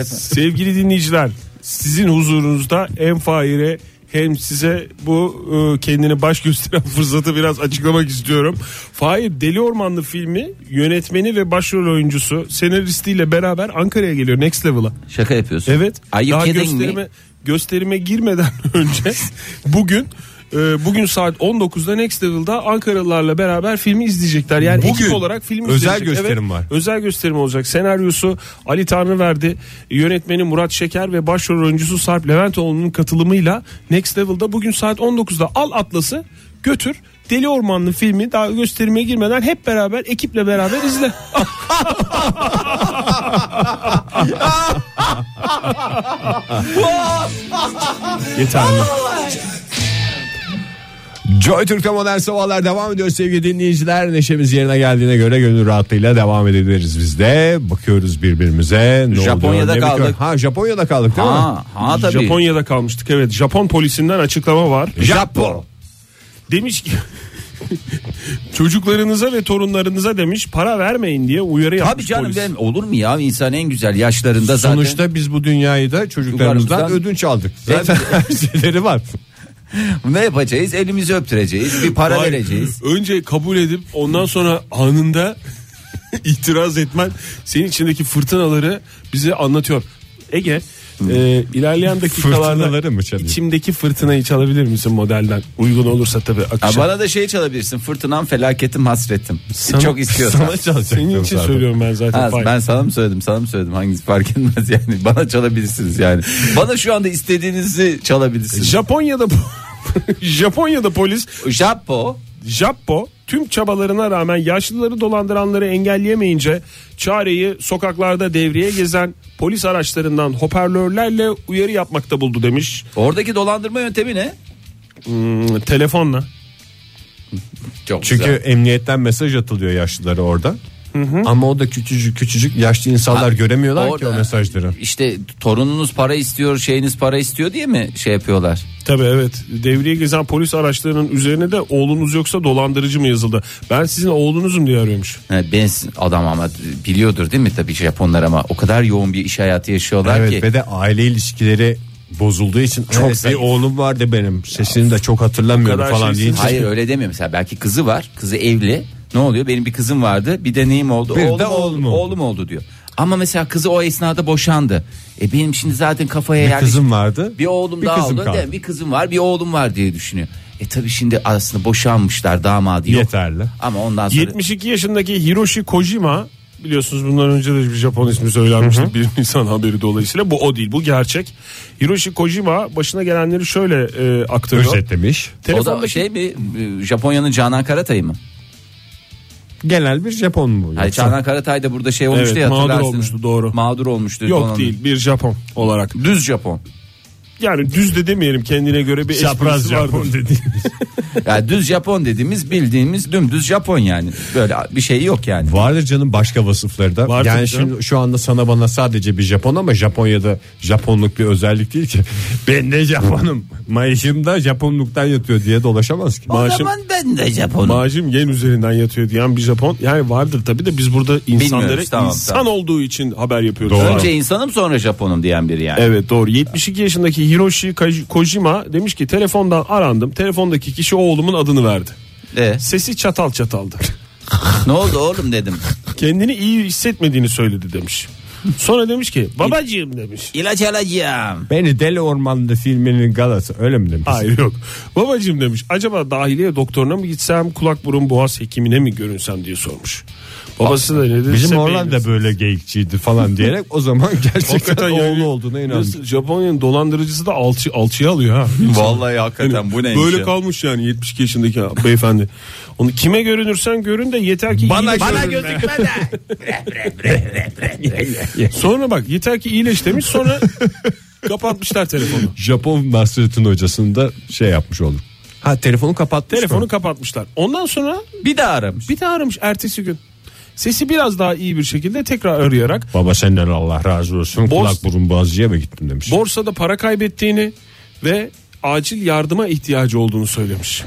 Sevgili dinleyiciler sizin huzurunuzda hem Fahir'e hem size bu e, kendini baş gösteren fırsatı biraz açıklamak istiyorum. Fahir Deli Ormanlı filmi yönetmeni ve başrol oyuncusu senaristiyle beraber Ankara'ya geliyor Next Level'a.
şaka yapıyorsun.
Evet.
Are you
daha
kidding me?
gösterime, gösterime girmeden önce bugün e, bugün saat 19'da Next Level'da Ankaralılarla beraber filmi izleyecekler. Yani
Bugün
ekip olarak film
özel
izleyecek.
gösterim var.
Özel gösterim olacak. Senaryosu Ali Tanrıverdi, yönetmeni Murat Şeker ve başrol oyuncusu Sarp Leventoğlu'nun katılımıyla Next Level'da bugün saat 19'da al Atlas'ı götür. Deli Ormanlı filmi daha gösterime girmeden hep beraber ekiple beraber izle. Yeterli.
Joy Türk'te modern sabahlar devam ediyor sevgili dinleyiciler. Neşemiz yerine geldiğine göre gönül rahatlığıyla devam edebiliriz biz de. Bakıyoruz birbirimize. Ne
Japonya'da
ne bitiyor?
kaldık.
Ha Japonya'da kaldık değil mi?
Ha, ha tabii.
Japonya'da kalmıştık evet. Japon polisinden açıklama var.
Japon.
Demiş ki çocuklarınıza ve torunlarınıza demiş para vermeyin diye uyarı yapmış
Tabii canım
polis.
benim olur mu ya insan en güzel yaşlarında zaten.
Sonuçta biz bu dünyayı da çocuklarımızdan
Çocuklarımızdan- E,
ödünç aldık. Zaten her şeyleri var.
ne yapacağız? Elimizi öptüreceğiz. Bir para
Hayır,
vereceğiz.
Önce kabul edip ondan sonra anında itiraz etmen senin içindeki fırtınaları bize anlatıyor. Ege e, ilerleyen dakikalarda
Fırtınaları mı çalayım?
içimdeki fırtınayı çalabilir misin modelden? Uygun olursa tabii
Ha,
akışa.
bana da şey çalabilirsin. Fırtınam felaketim hasretim.
Sana-
Çok istiyorsan.
Sana çalacaktım
Senin için
zaten.
söylüyorum ben zaten.
Ha,
Fahir.
ben sana mı söyledim sana mı söyledim hangisi fark etmez yani bana çalabilirsiniz yani bana şu anda istediğinizi çalabilirsiniz.
Japonya'da Japonya'da polis
Japo
Jappo tüm çabalarına rağmen yaşlıları dolandıranları engelleyemeyince çareyi sokaklarda devreye gezen polis araçlarından hoparlörlerle uyarı yapmakta buldu demiş.
oradaki dolandırma yöntemi ne?
Hmm, telefonla.
Çok
Çünkü
güzel.
emniyetten mesaj atılıyor yaşlılara orada. Ama o da küçücük küçücük yaşlı insanlar
Ha,
göremiyorlar ki
orada-
o mesajları.
işte torununuz para istiyor şeyiniz para istiyor diye mi şey yapıyorlar?
Tabii evet devreye gezen polis araçlarının üzerine de oğlunuz yoksa dolandırıcı mı yazıldı. Ben sizin oğlunuzum diye arıyormuş.
Ha, Ben adam ama biliyordur değil mi tabii Japonlar ama o kadar yoğun bir iş hayatı yaşıyorlar
Evet
ki.
ve de aile ilişkileri bozulduğu için çok bir
zayıf.
oğlum vardı benim sesini de çok hatırlamıyorum
O kadar
falan
şeysiz.
deyince
Hayır öyle demiyor mesela belki kızı var kızı evli ne oluyor benim bir kızım vardı bir de neyim oldu
Bir
oğlum,
de
oldu,
oğlum
oğlum,
oldu.
oldu diyor. Ama mesela kızı o esnada boşandı. E benim şimdi zaten kafaya
bir
yerleşti.
kızım vardı.
Bir oğlum
bir
daha
kızım
oldu
kaldı.
değil mi? Bir kızım var bir oğlum var diye düşünüyor. E tabi şimdi aslında boşanmışlar damadı yok.
Yeterli.
Ama ondan sonra
72 yaşındaki Hiroshi Kojima biliyorsunuz bundan önce de bir Japon ismi söylenmişti bir Nisan haberi dolayısıyla bu o değil bu gerçek. Hiroshi Kojima başına gelenleri şöyle e, aktarıyor.
Özetlemiş.
o
Telefondaki-
da şey mi e, Japonya'nın Canan Karatay'ı mı?
Genel bir Japon mu?
Hayır
yoksa?
Canan Karatay da burada şey olmuştu
Evet,
ya
mağdur
hatırlarsınız.
olmuştu, doğru.
Mağdur olmuştu.
Yok
donanım.
değil bir Japon olarak.
Düz Japon.
Yani düz de demeyelim kendine göre bir esprisi vardır.
Yani düz Japon dediğimiz bildiğimiz dümdüz Japon yani. Böyle bir şey yok yani.
Vardır canım başka vasıfları da.
Vardır
yani
canım.
şimdi şu anda sana bana sadece bir Japon ama Japonya'da Japonluk bir özellik değil ki. Ben de Japonum. Maaşım da Japonluktan yatıyor diye dolaşamaz ki.
o
maaşım-
zaman ben de Japonum.
Maaşım yen üzerinden yatıyor diyen bir Japon. Yani vardır tabii de biz burada insanlara
Bilmiyoruz, tamam,
insan
tamam.
olduğu için haber yapıyoruz.
Doğru.
Evet.
Önce insanım sonra Japonum diyen biri yani.
Evet doğru. 72 yaşındaki Hiroshi Kaj- Kojima demiş ki telefondan arandım. Telefondaki kişi oğlumun adını verdi.
E,
Sesi çatal çataldı.
ne oldu oğlum dedim.
Kendini iyi hissetmediğini söyledi demiş. Sonra demiş ki babacığım demiş.
İlaç alacağım.
Beni Deli Orman'da filminin galası öyle mi demiş?
Hayır yok. Babacığım demiş acaba dahiliye doktoruna mı gitsem kulak burun boğaz hekimine mi görünsem diye sormuş. Babası da ne dedi?
Bizim
"Sen
Orlan da
beğenirsin."
böyle geyikçiydi falan diyerek o zaman gerçekten
Hakikaten
oğlu
yani-
olduğuna inanmış.
Biliyorsun, Japonya'nın dolandırıcısı da alçı, alçıya alıyor ha.
Vallahi hakikaten bu neymiş
Böyle
ya?
kalmış yani 72 yaşındaki beyefendi. Onu kime görünürsen görün de yeter ki
Bana
iyileş-
görünme.
gözükme de.
Sonra bak yeter ki iyileş demiş sonra kapatmışlar telefonu.
Japon Nasrettin hocasını da şey yapmış olur. Ha telefonu kapattı.
Telefonu kapatmışlar. Ondan sonra
Bir daha aramış.
bir daha aramış ertesi gün. Sesi biraz daha iyi bir şekilde tekrar arayarak
Baba senden Allah razı olsun. Kulak burun boğazcıya mı gittin demiş.
borsada para kaybettiğini ve acil yardıma ihtiyacı olduğunu söylemiş.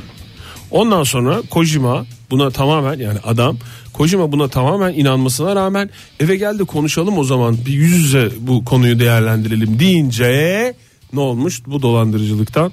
Ondan sonra Kojima buna tamamen yani adam Kojima buna tamamen inanmasına rağmen eve geldi konuşalım o zaman bir yüz yüze bu konuyu değerlendirelim deyince ne olmuş bu dolandırıcılıktan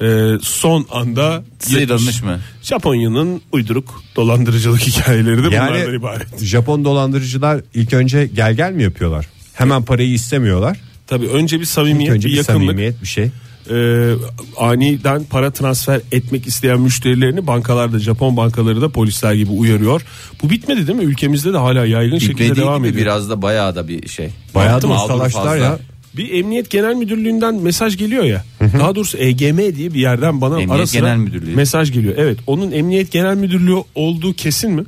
e, son anda
Sıyrılmış
yetmiş.
mı?
Japonya'nın uyduruk dolandırıcılık hikayeleri de bunlardan
Yani
ibaret.
Japon dolandırıcılar ilk önce gel gel mi yapıyorlar? Hemen parayı istemiyorlar.
Tabii önce bir
İlk
samimiyet,
önce
bir
bir
yakınlık.
samimiyet bir şey.
Ee, aniden para transfer etmek isteyen müşterilerini bankalarda Japon bankaları da polisler gibi uyarıyor. Bu bitmedi değil mi? Ülkemizde de hala yaygın şekilde
Bitmediği
devam
gibi
ediyor.
biraz da bayağı da bir şey.
Bayağı
Altın
da
mı aldın
ustalaştılar
fazla?
ya.
Bir Emniyet Genel Müdürlüğü'nden mesaj geliyor ya. Daha doğrusu EGM diye bir yerden bana
Emniyet
ara sıra
Genel Müdürlüğü.
mesaj geliyor. Evet. Onun Emniyet Genel Müdürlüğü olduğu kesin mi?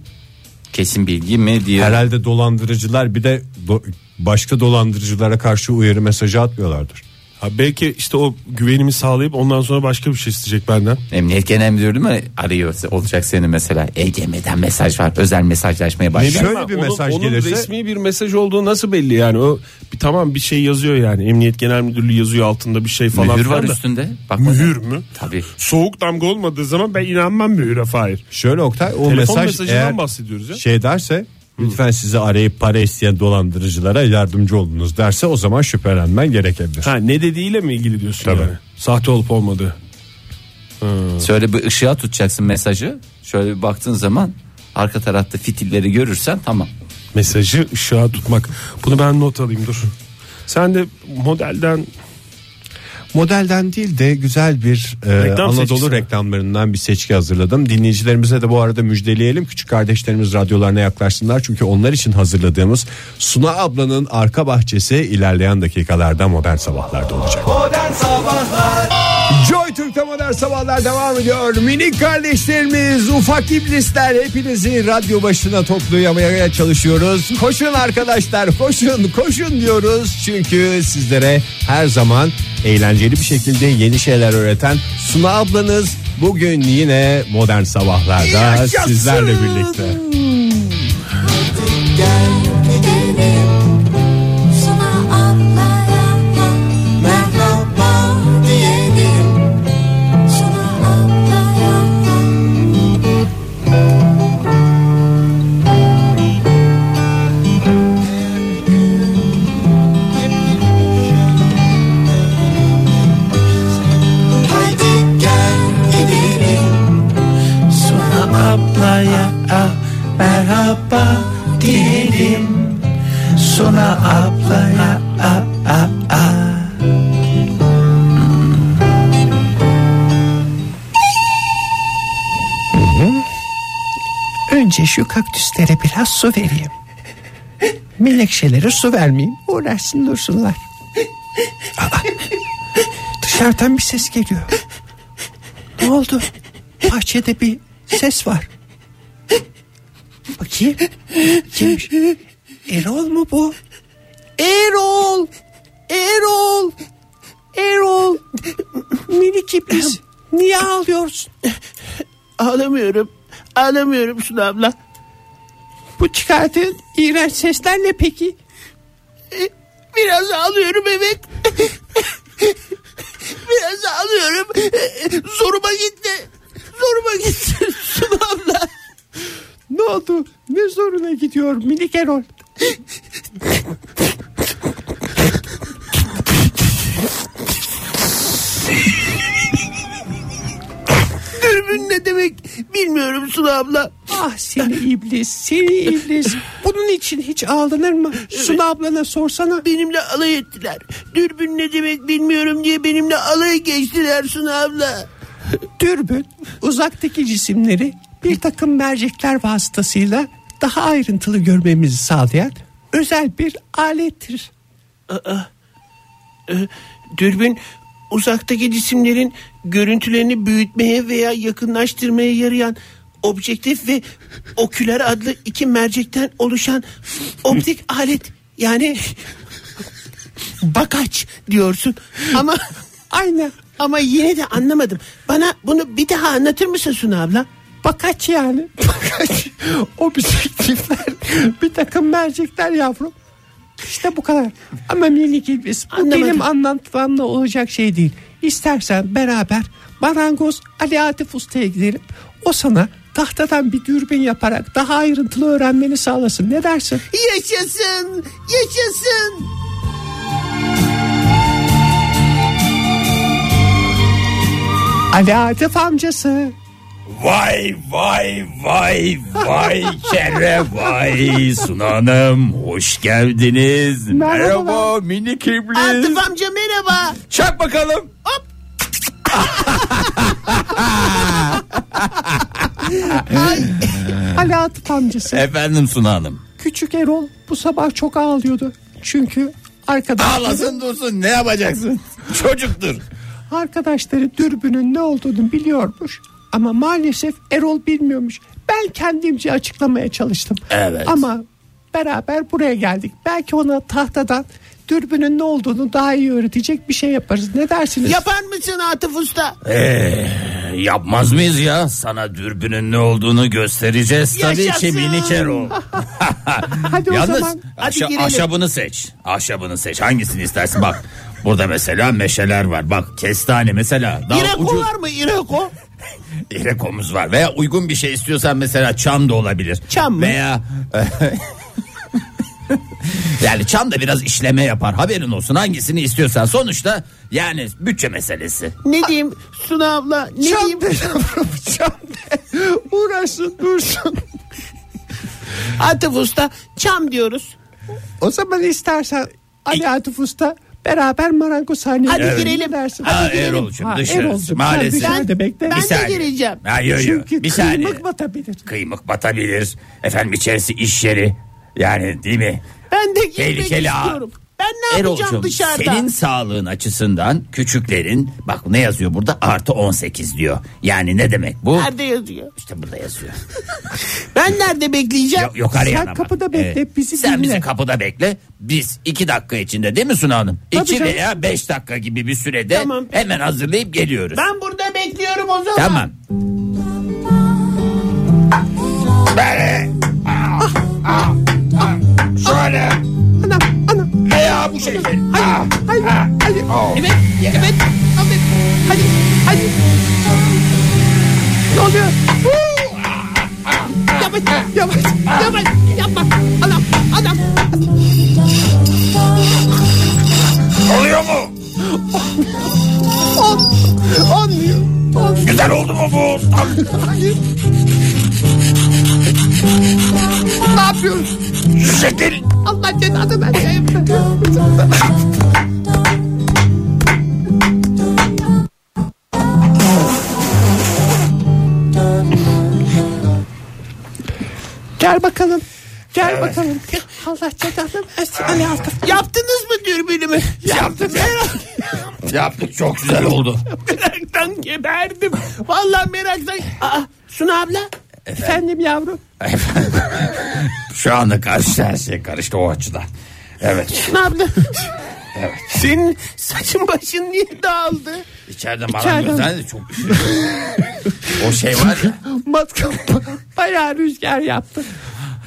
Kesin bilgi mi diye.
Herhalde dolandırıcılar bir de do- başka dolandırıcılara karşı uyarı mesajı atmıyorlardır.
Ha belki işte o güvenimi sağlayıp ondan sonra başka bir şey isteyecek benden.
Emniyet Genel Müdürlüğü mü arıyor olacak seni mesela. EGM'den mesaj var. Özel mesajlaşmaya
Ne
başladı.
bileyim
Şöyle
ben,
bir
onun-
mesaj
onun
gelirse-
resmi bir mesaj olduğu nasıl belli yani o bir tamam bir şey yazıyor yani Emniyet Genel Müdürlüğü yazıyor altında bir şey falan
Mühür
filan
var
da.
üstünde. Bak
Mühür mü?
Tabii.
Soğuk damga olmadığı zaman ben inanmam mühüre Fahir.
Şöyle Oktay o
Telefon
mesaj
mesajından
eğer
bahsediyoruz ya.
şey derse lütfen sizi arayıp para isteyen dolandırıcılara yardımcı olunuz derse o zaman şüphelenmen gerekebilir.
Ha ne dediğiyle mi ilgili diyorsun
Tabii.
yani? Sahte olup olmadığı.
Şöyle bir ışığa tutacaksın mesajı. Şöyle bir baktığın zaman arka tarafta fitilleri görürsen tamam.
Mesajı ışığa tutmak. Bunu ben not alayım dur. Sen de modelden
Modelden değil de güzel bir e,
Reklam
Anadolu
seçkisi.
reklamlarından bir seçki hazırladım. Dinleyicilerimize de bu arada müjdeleyelim. Küçük kardeşlerimiz radyolarına yaklaşsınlar. Çünkü onlar için hazırladığımız Suna ablanın arka bahçesi ilerleyen dakikalarda modern sabahlarda olacak. Joy Türk'te modern sabahlar devam ediyor. Minik kardeşlerimiz, ufak iblisler hepinizi radyo başına toplayamaya çalışıyoruz. Koşun arkadaşlar, koşun, koşun diyoruz. Çünkü sizlere her zaman eğlenceli bir şekilde yeni şeyler öğreten Suna ablanız bugün yine modern sabahlarda sizlerle birlikte.
Gel gidelim Sana atlayana merhaba diyelim Sana atlayana Haydi gel gidelim
Suna ablaya ah, merhaba diyelim Suna ablaya ah, ah, ah. Önce şu kaktüslere biraz su vereyim Melekşelere su vermeyeyim Uğraşsın dursunlar Aa, Dışarıdan bir ses geliyor ne oldu? Bahçede bir ses var. Bakayım. Kimmiş? Erol mu bu? Erol! Erol! Erol! Minik iblis. Niye ağlıyorsun? Ağlamıyorum. Ağlamıyorum Suna abla. Bu çıkarttığın iğrenç sesler ne peki? E, Biraz ağlıyorum evet. Biraz ağlıyorum. E, Zoruma gitti. Zoruma gitti sunamla. Ne oldu? Ne zoruna gidiyor minik Erol? Dürbün ne demek bilmiyorum Suna abla. Ah seni iblis, seni iblis. Bunun için hiç ağlanır mı? Suna ablana sorsana. Benimle alay ettiler. Dürbün ne demek bilmiyorum diye benimle alay geçtiler Suna abla. Dürbün uzaktaki cisimleri bir takım mercekler vasıtasıyla daha ayrıntılı görmemizi sağlayan özel bir alettir. Dürbün e, uzaktaki cisimlerin görüntülerini büyütmeye veya yakınlaştırmaya yarayan objektif ve oküler adlı iki mercekten oluşan optik alet yani bakaç diyorsun ama aynı ama yine de anlamadım. Bana bunu bir daha anlatır mısın Suna abla? Bakaç yani. Bakaç. Objektifler bir takım mercekler yavrum. İşte bu kadar. Ama minik iblis bu benim anlatmamla olacak şey değil. İstersen beraber marangoz Ali Atif Usta'ya gidelim. O sana tahtadan bir dürbün yaparak daha ayrıntılı öğrenmeni sağlasın. Ne dersin?
Yaşasın, yaşasın.
Ali Atif amcası.
Vay vay vay vay kere vay sunanım hoş geldiniz.
Merhabalar.
Merhaba minik iblis.
Atıf amca merhaba.
Çak bakalım.
Ee. Ali Atif amcası.
Efendim sunanım.
Küçük Erol bu sabah çok ağlıyordu. Çünkü arkadaşları,
Ağlasın dursun ne yapacaksın? Çocuktur.
arkadaşları dürbünün ne olduğunu biliyormuş. Ama maalesef Erol bilmiyormuş. Ben kendimce açıklamaya çalıştım.
Evet.
Ama beraber buraya geldik. Belki ona tahtadan dürbünün ne olduğunu daha iyi öğretecek bir şey yaparız. Ne dersiniz?
Yapar mısın Atıf Usta?
Ee, Yapmaz mıyız ya? Sana dürbünün ne olduğunu göstereceğiz. Tabii ki
Yaşasın.
minik Erol.
Hadi o
Yalnız
zaman.
Hadi
ahşa-
girelim.
ahşabını seç. Ahşabını seç. Hangisini istersin bak. Burada mesela meşeler var. Bak kestane mesela. Daha
İreko
ucuz.
var mı İreko?
İrekomuz var. Veya uygun bir şey istiyorsan mesela çam da olabilir.
Çam mı?
Veya... e, yani çam da biraz işleme yapar. Haberin olsun hangisini istiyorsan. Sonuçta yani bütçe meselesi.
Ne diyeyim Suna abla? Ne diyeyim?
Çam de yavrum çam de. Uğraşsın dursun.
Atıf Usta çam diyoruz.
O zaman istersen Ali Atif Usta beraber marangoz sahneye
Hadi
girelim.
girelim.
dersin.
Ha,
Hadi girelim.
Erol'cum
Ha,
dışarı.
Erol'cum,
Maalesef.
sen dışarıda bekle.
Ben
Bir
de
saniye.
gireceğim.
Ha, yo, yo.
Çünkü
bir saniye.
kıymık batabilir.
Kıymık batabilir. Efendim içerisi iş yeri. Yani değil mi?
Ben de girmek
Tehlikeli ha.
istiyorum. Ben ne yapacağım
Erol'cum,
dışarıda?
senin sağlığın açısından küçüklerin bak ne yazıyor burada artı 18 diyor. Yani ne demek bu?
Nerede yazıyor?
İşte burada yazıyor.
Ben nerede bekleyeceğim?
Yok, yukarı
Sen
yana bak.
kapıda bekle, bizi
Sen
dinle.
bizi kapıda bekle. Biz iki dakika içinde değil mi Suna Hanım?
Tabii
iki
canım.
veya beş dakika gibi bir sürede
Tamam.
hemen hazırlayıp geliyoruz.
Ben burada bekliyorum o zaman.
Tamam. Beni. Ah, ah, ah. Şöyle.
Ana ana.
E ya bu şekil. Ah. Oh.
Hadi hadi. Evet evet. Hadi hadi. hadi. Ne oluyor? Huu!
Ah,
Yavaş yavaş yavaş yapma. Anam anam.
Oluyor mu?
On. Olmuyor. Olmuyor.
Güzel oldu mu bu? Tam
Hayır. Ne yapıyoruz?
şu şekil.
Allah cezanı versin. Gel bakalım. Gel bakalım. Allah cezanı versin. Hani Ali Atıf.
Yaptınız mı dürbünümü?
Yaptık. Yaptık çok güzel oldu.
meraktan geberdim. Vallahi meraktan. Aa, Suna abla.
Efendim yavrum.
Şu anda karşı her şey karıştı o açıdan. Evet.
Suna abla. Senin saçın başın niye dağıldı?
İçeride marangozlar da çok O şey var ya.
Matkap bayağı rüzgar yaptı.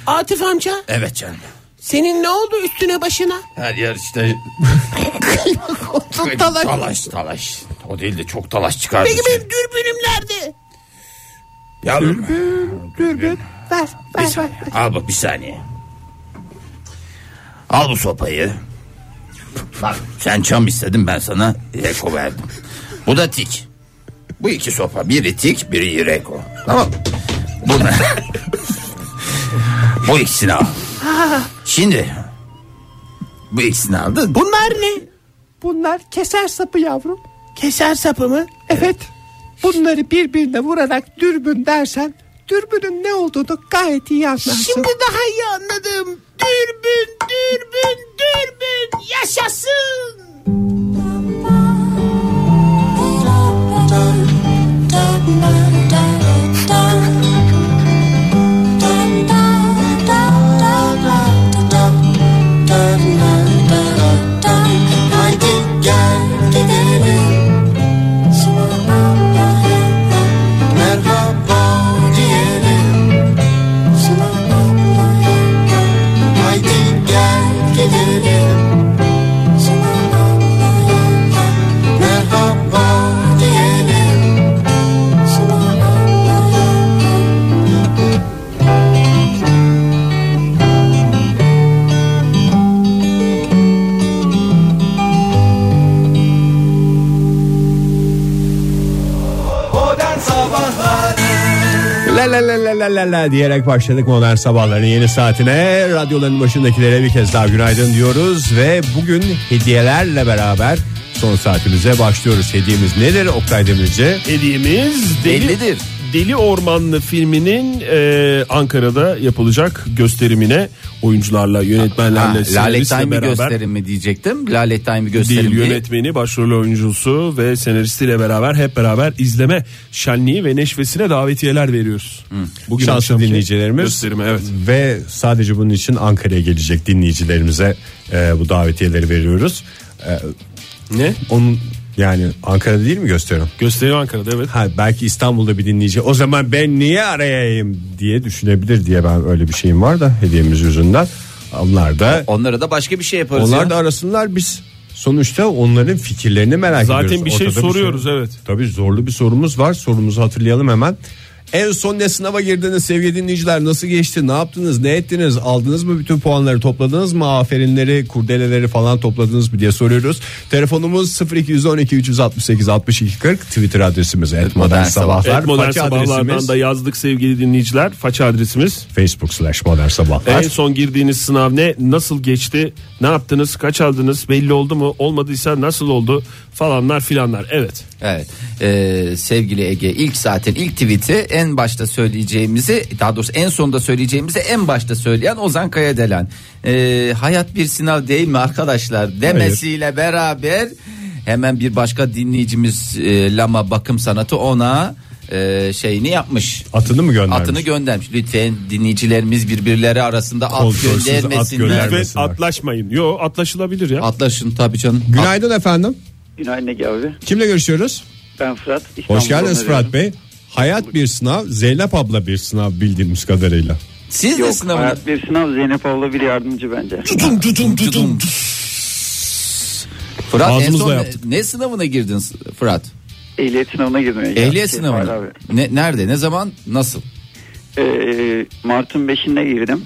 Atif amca
Evet canım.
senin ne oldu üstüne başına?
Her yer işte
Talaş.
talaş talaş. O değil de çok talaş çıkardı.
Peki
şey.
benim dürbünüm nerede?
Yavrum.
Dürbün. Ver
Bir
ver ver.
saniye. Al bak bir saniye. Al bu sopayı. Bak sen çam istedin ben sana Reko verdim. Bu da tik. Bu iki sopa. Biri tik biri Reko. Tamam mı? Bunu... bu ikisini al. Şimdi bu ikisini aldın.
Bunlar ne?
Bunlar keser sapı yavrum.
Keser sapı mı?
Evet. Bunları birbirine vurarak dürbün dersen dürbünün ne olduğunu gayet iyi anlarsın.
Şimdi daha iyi anladım. Dürbün, dürbün, dürbün. Yaşasın.
Hadi gel gidelim Sana Allah'a merhaba diyelim Sana Allah'a haydi gel gidelim
La la la la la la la diyerek başladık modern sabahların yeni saatine. Radyoların başındakilere bir kez daha günaydın diyoruz ve bugün hediyelerle beraber son saatimize başlıyoruz. Hediyemiz nedir Oktay Demirci?
Hediyemiz deli,
Bellidir.
Deli Ormanlı filminin e, Ankara'da yapılacak gösterimine oyuncularla,
Ha,
yönetmenlerle,
Lale
senaristle
Time
beraber
gösterimi diyecektim. Lale Time
değil
gösterimi.
yönetmeni, başrol oyuncusu ve senaristiyle beraber hep beraber izleme şenliği ve neşvesine davetiyeler veriyoruz. Bugün
Şanslı
akşamki
dinleyicilerimiz
gösterime evet.
ve sadece bunun için Ankara'ya gelecek dinleyicilerimize e, bu davetiyeleri veriyoruz. E,
Ne?
onun yani Ankara'da değil mi gösteriyorum?
Gösteri Ankara'da evet.
Ha, belki İstanbul'da bir dinleyici o zaman ben niye arayayım diye düşünebilir diye ben öyle bir şeyim var da hediyemiz yüzünden. Onlar da
Onlara da başka bir şey yaparız.
onlar
ya.
da arasınlar biz. Sonuçta onların fikirlerini merak
Zaten
ediyoruz.
bir şey
Ortada
soruyoruz, evet.
Tabii zorlu bir sorumuz var. Sorumuzu hatırlayalım hemen. En son ne sınava girdiniz sevgili dinleyiciler? Nasıl geçti? Ne yaptınız? Ne ettiniz? Aldınız mı bütün puanları? Topladınız mı? Aferinleri, kurdeleleri falan topladınız mı diye soruyoruz. Telefonumuz 0212 368 62 40. Twitter adresimiz et modern sabahlar.
Evet, modern
Faça
sabahlardan
adresimiz
da yazdık sevgili dinleyiciler. Faça adresimiz.
Facebook slash modern sabahlar.
En son girdiğiniz sınav ne? Nasıl geçti? Ne yaptınız? Kaç aldınız? Belli oldu mu? Olmadıysa nasıl oldu? Falanlar filanlar. Evet.
Evet. Ee, sevgili Ege ilk saatin ilk tweet'i en başta söyleyeceğimizi daha doğrusu en sonda söyleyeceğimizi en başta söyleyen Ozan Kayadelen. Ee, hayat bir sınav değil mi arkadaşlar demesiyle beraber hemen bir başka dinleyicimiz e, Lama Bakım Sanatı ona e, şeyini yapmış.
Atını mı göndermiş?
Atını göndermiş. Lütfen dinleyicilerimiz birbirleri arasında at
Kontrolsüz at
göndermesinler.
göndermesin.
Ve
Vermesinler.
atlaşmayın. Yo atlaşılabilir ya.
Atlaşın tabii canım.
Günaydın efendim.
Günaydın Ege abi.
Kimle görüşüyoruz?
Ben Fırat.
Hoş
İstanbul'dan
geldiniz
arıyorum.
Fırat Bey. Hayat bir sınav, Zeynep abla bir sınav bildiğimiz kadarıyla.
Siz de
Yok
sınavına
hayat bir sınav Zeynep abla bir yardımcı bence.
Cudum. Fırat en
Ağzımızla
son ne,
yaptık.
ne sınavına girdin Fırat?
Ehliyet sınavına girmiyor.
Ehliyet sınavına.
Ee, Abi.
Ne, nerede, ne zaman, nasıl?
Ee, Mart'ın 5'inde girdim.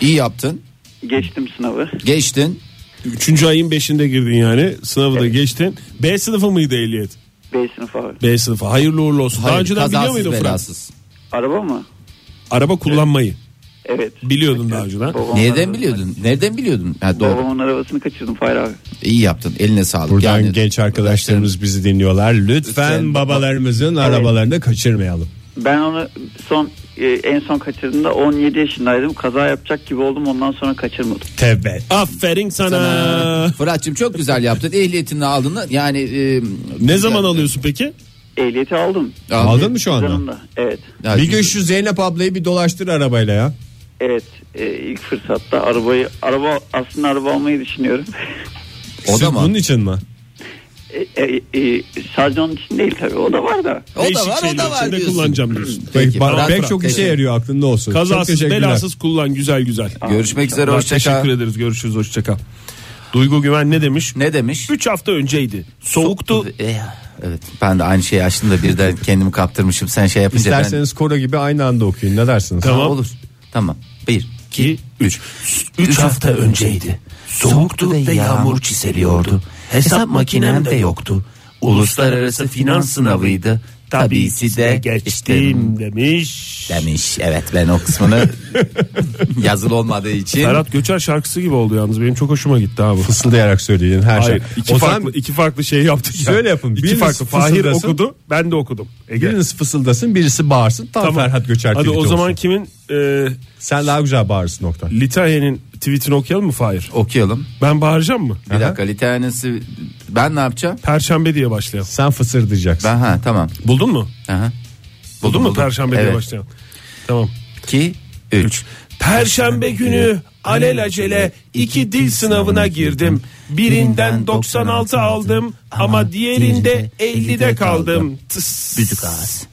İyi yaptın,
Geçtim sınavı.
geçtin.
3. ayın 5'inde girdin yani. Sınavı da geçtin. B sınıfı mıydı ehliyet?
B sınıf abi.
B sınıfı. Hayırlı uğurlu olsun. Daha
Hayır,
önceden biliyor
kazasız
muydun Fırat?
belasız.
Araba mı?
Araba kullanmayı.
Evet.
Biliyordun daha önceden.
Babamın
Nereden
arabasını-
biliyordun? Nereden biliyordun? Ha, doğru.
Babamın arabasını kaçırdım Fahir abi.
İyi yaptın. Eline sağlık.
Buradan
Yani-
genç arkadaşlarımız bizi dinliyorlar. Lütfen
Lütfen
babalarımızın arabalarını kaçırmayalım.
Ben onu son e, en son kaçırdığımda 17 yaşındaydım. Kaza yapacak gibi oldum ondan sonra kaçırmadım.
Tevbe.
Aferin sana.
Sana- Fırat'cığım çok güzel yaptın. Ehliyetini aldın. Yani e,
Ne zaman alıyorsun peki?
Ehliyeti aldım.
Aldın mı şu anda?
Yanımda. Evet.
Ya,
Bir gün şu Zeynep ablayı bir dolaştır arabayla ya.
Evet. E, ilk fırsatta arabayı araba aslında araba almayı düşünüyorum.
O da
Siz Bunun
mı?
için mi?
E, e, e, sadece onun için değil tabii o da var da.
O da
Değişik
var, o
şeyler
da var
içinde
diyorsun.
kullanacağım diyorsun.
Peki,
Fırat,
bak, pek
Fırat,
çok işe
teşekkür-
yarıyor aklında olsun. Çok
Kazasız
teşekkürler.
belasız kullan güzel güzel.
Görüşmek üzere.
Allah
hoşça kal.
teşekkür ederiz. Görüşürüz. Hoşça kal. Duygu Güven ne demiş?
Ne demiş?
3 hafta önceydi. Soğuktu.
Eh, Evet ben de aynı şeyi açtım da birden kendimi kaptırmışım. Sen şey yapınca ben...
İsterseniz koro gibi aynı anda okuyun. Ne dersiniz?
Ha,
Tamam.
Olur. Tamam. Bir, iki, üç.
3 hafta önceydi. Soğuktu ve yağmur çiseliyordu. Hesap makinem de yoktu. Uluslararası finans sınavıydı. Tabisi de geçtim.
geçtim demiş.
Demiş. Evet ben o kısmını yazılı olmadığı için.
Ferhat Göçer şarkısı gibi oldu yalnız. Benim çok hoşuma gitti abi.
Fısıldayarak söyleyin her şey.
Hayır, iki
O zaman
farklı iki farklı şey yaptık. ya.
Şöyle yapın,
İki
biriniz
farklı. Fahir
fısıldasın.
okudu, ben de okudum. Ege.
biriniz fısıldasın birisi bağırsın. Tam Ferhat Göçer
Hadi
tweeti
o zaman
olsun.
kimin e,
Sen daha güzel bağırsın nokta.
Litanya'nın tweetini okuyalım mı Fahir?
Okuyalım.
Ben bağıracağım mı?
Bir dakika literanesi ben ne yapacağım?
Perşembe diye başlayalım.
Sen fısırdayacaksın.
Ben ha tamam.
Buldun mu?
Aha.
Buldun mu Perşembe diye
evet.
başlayalım? Tamam.
İki, üç.
Perşembe günü alelacele iki dil sınavına girdim. Birinden 96 aldım ama diğerinde 50'de kaldım. Tıs.
Büzük ağız.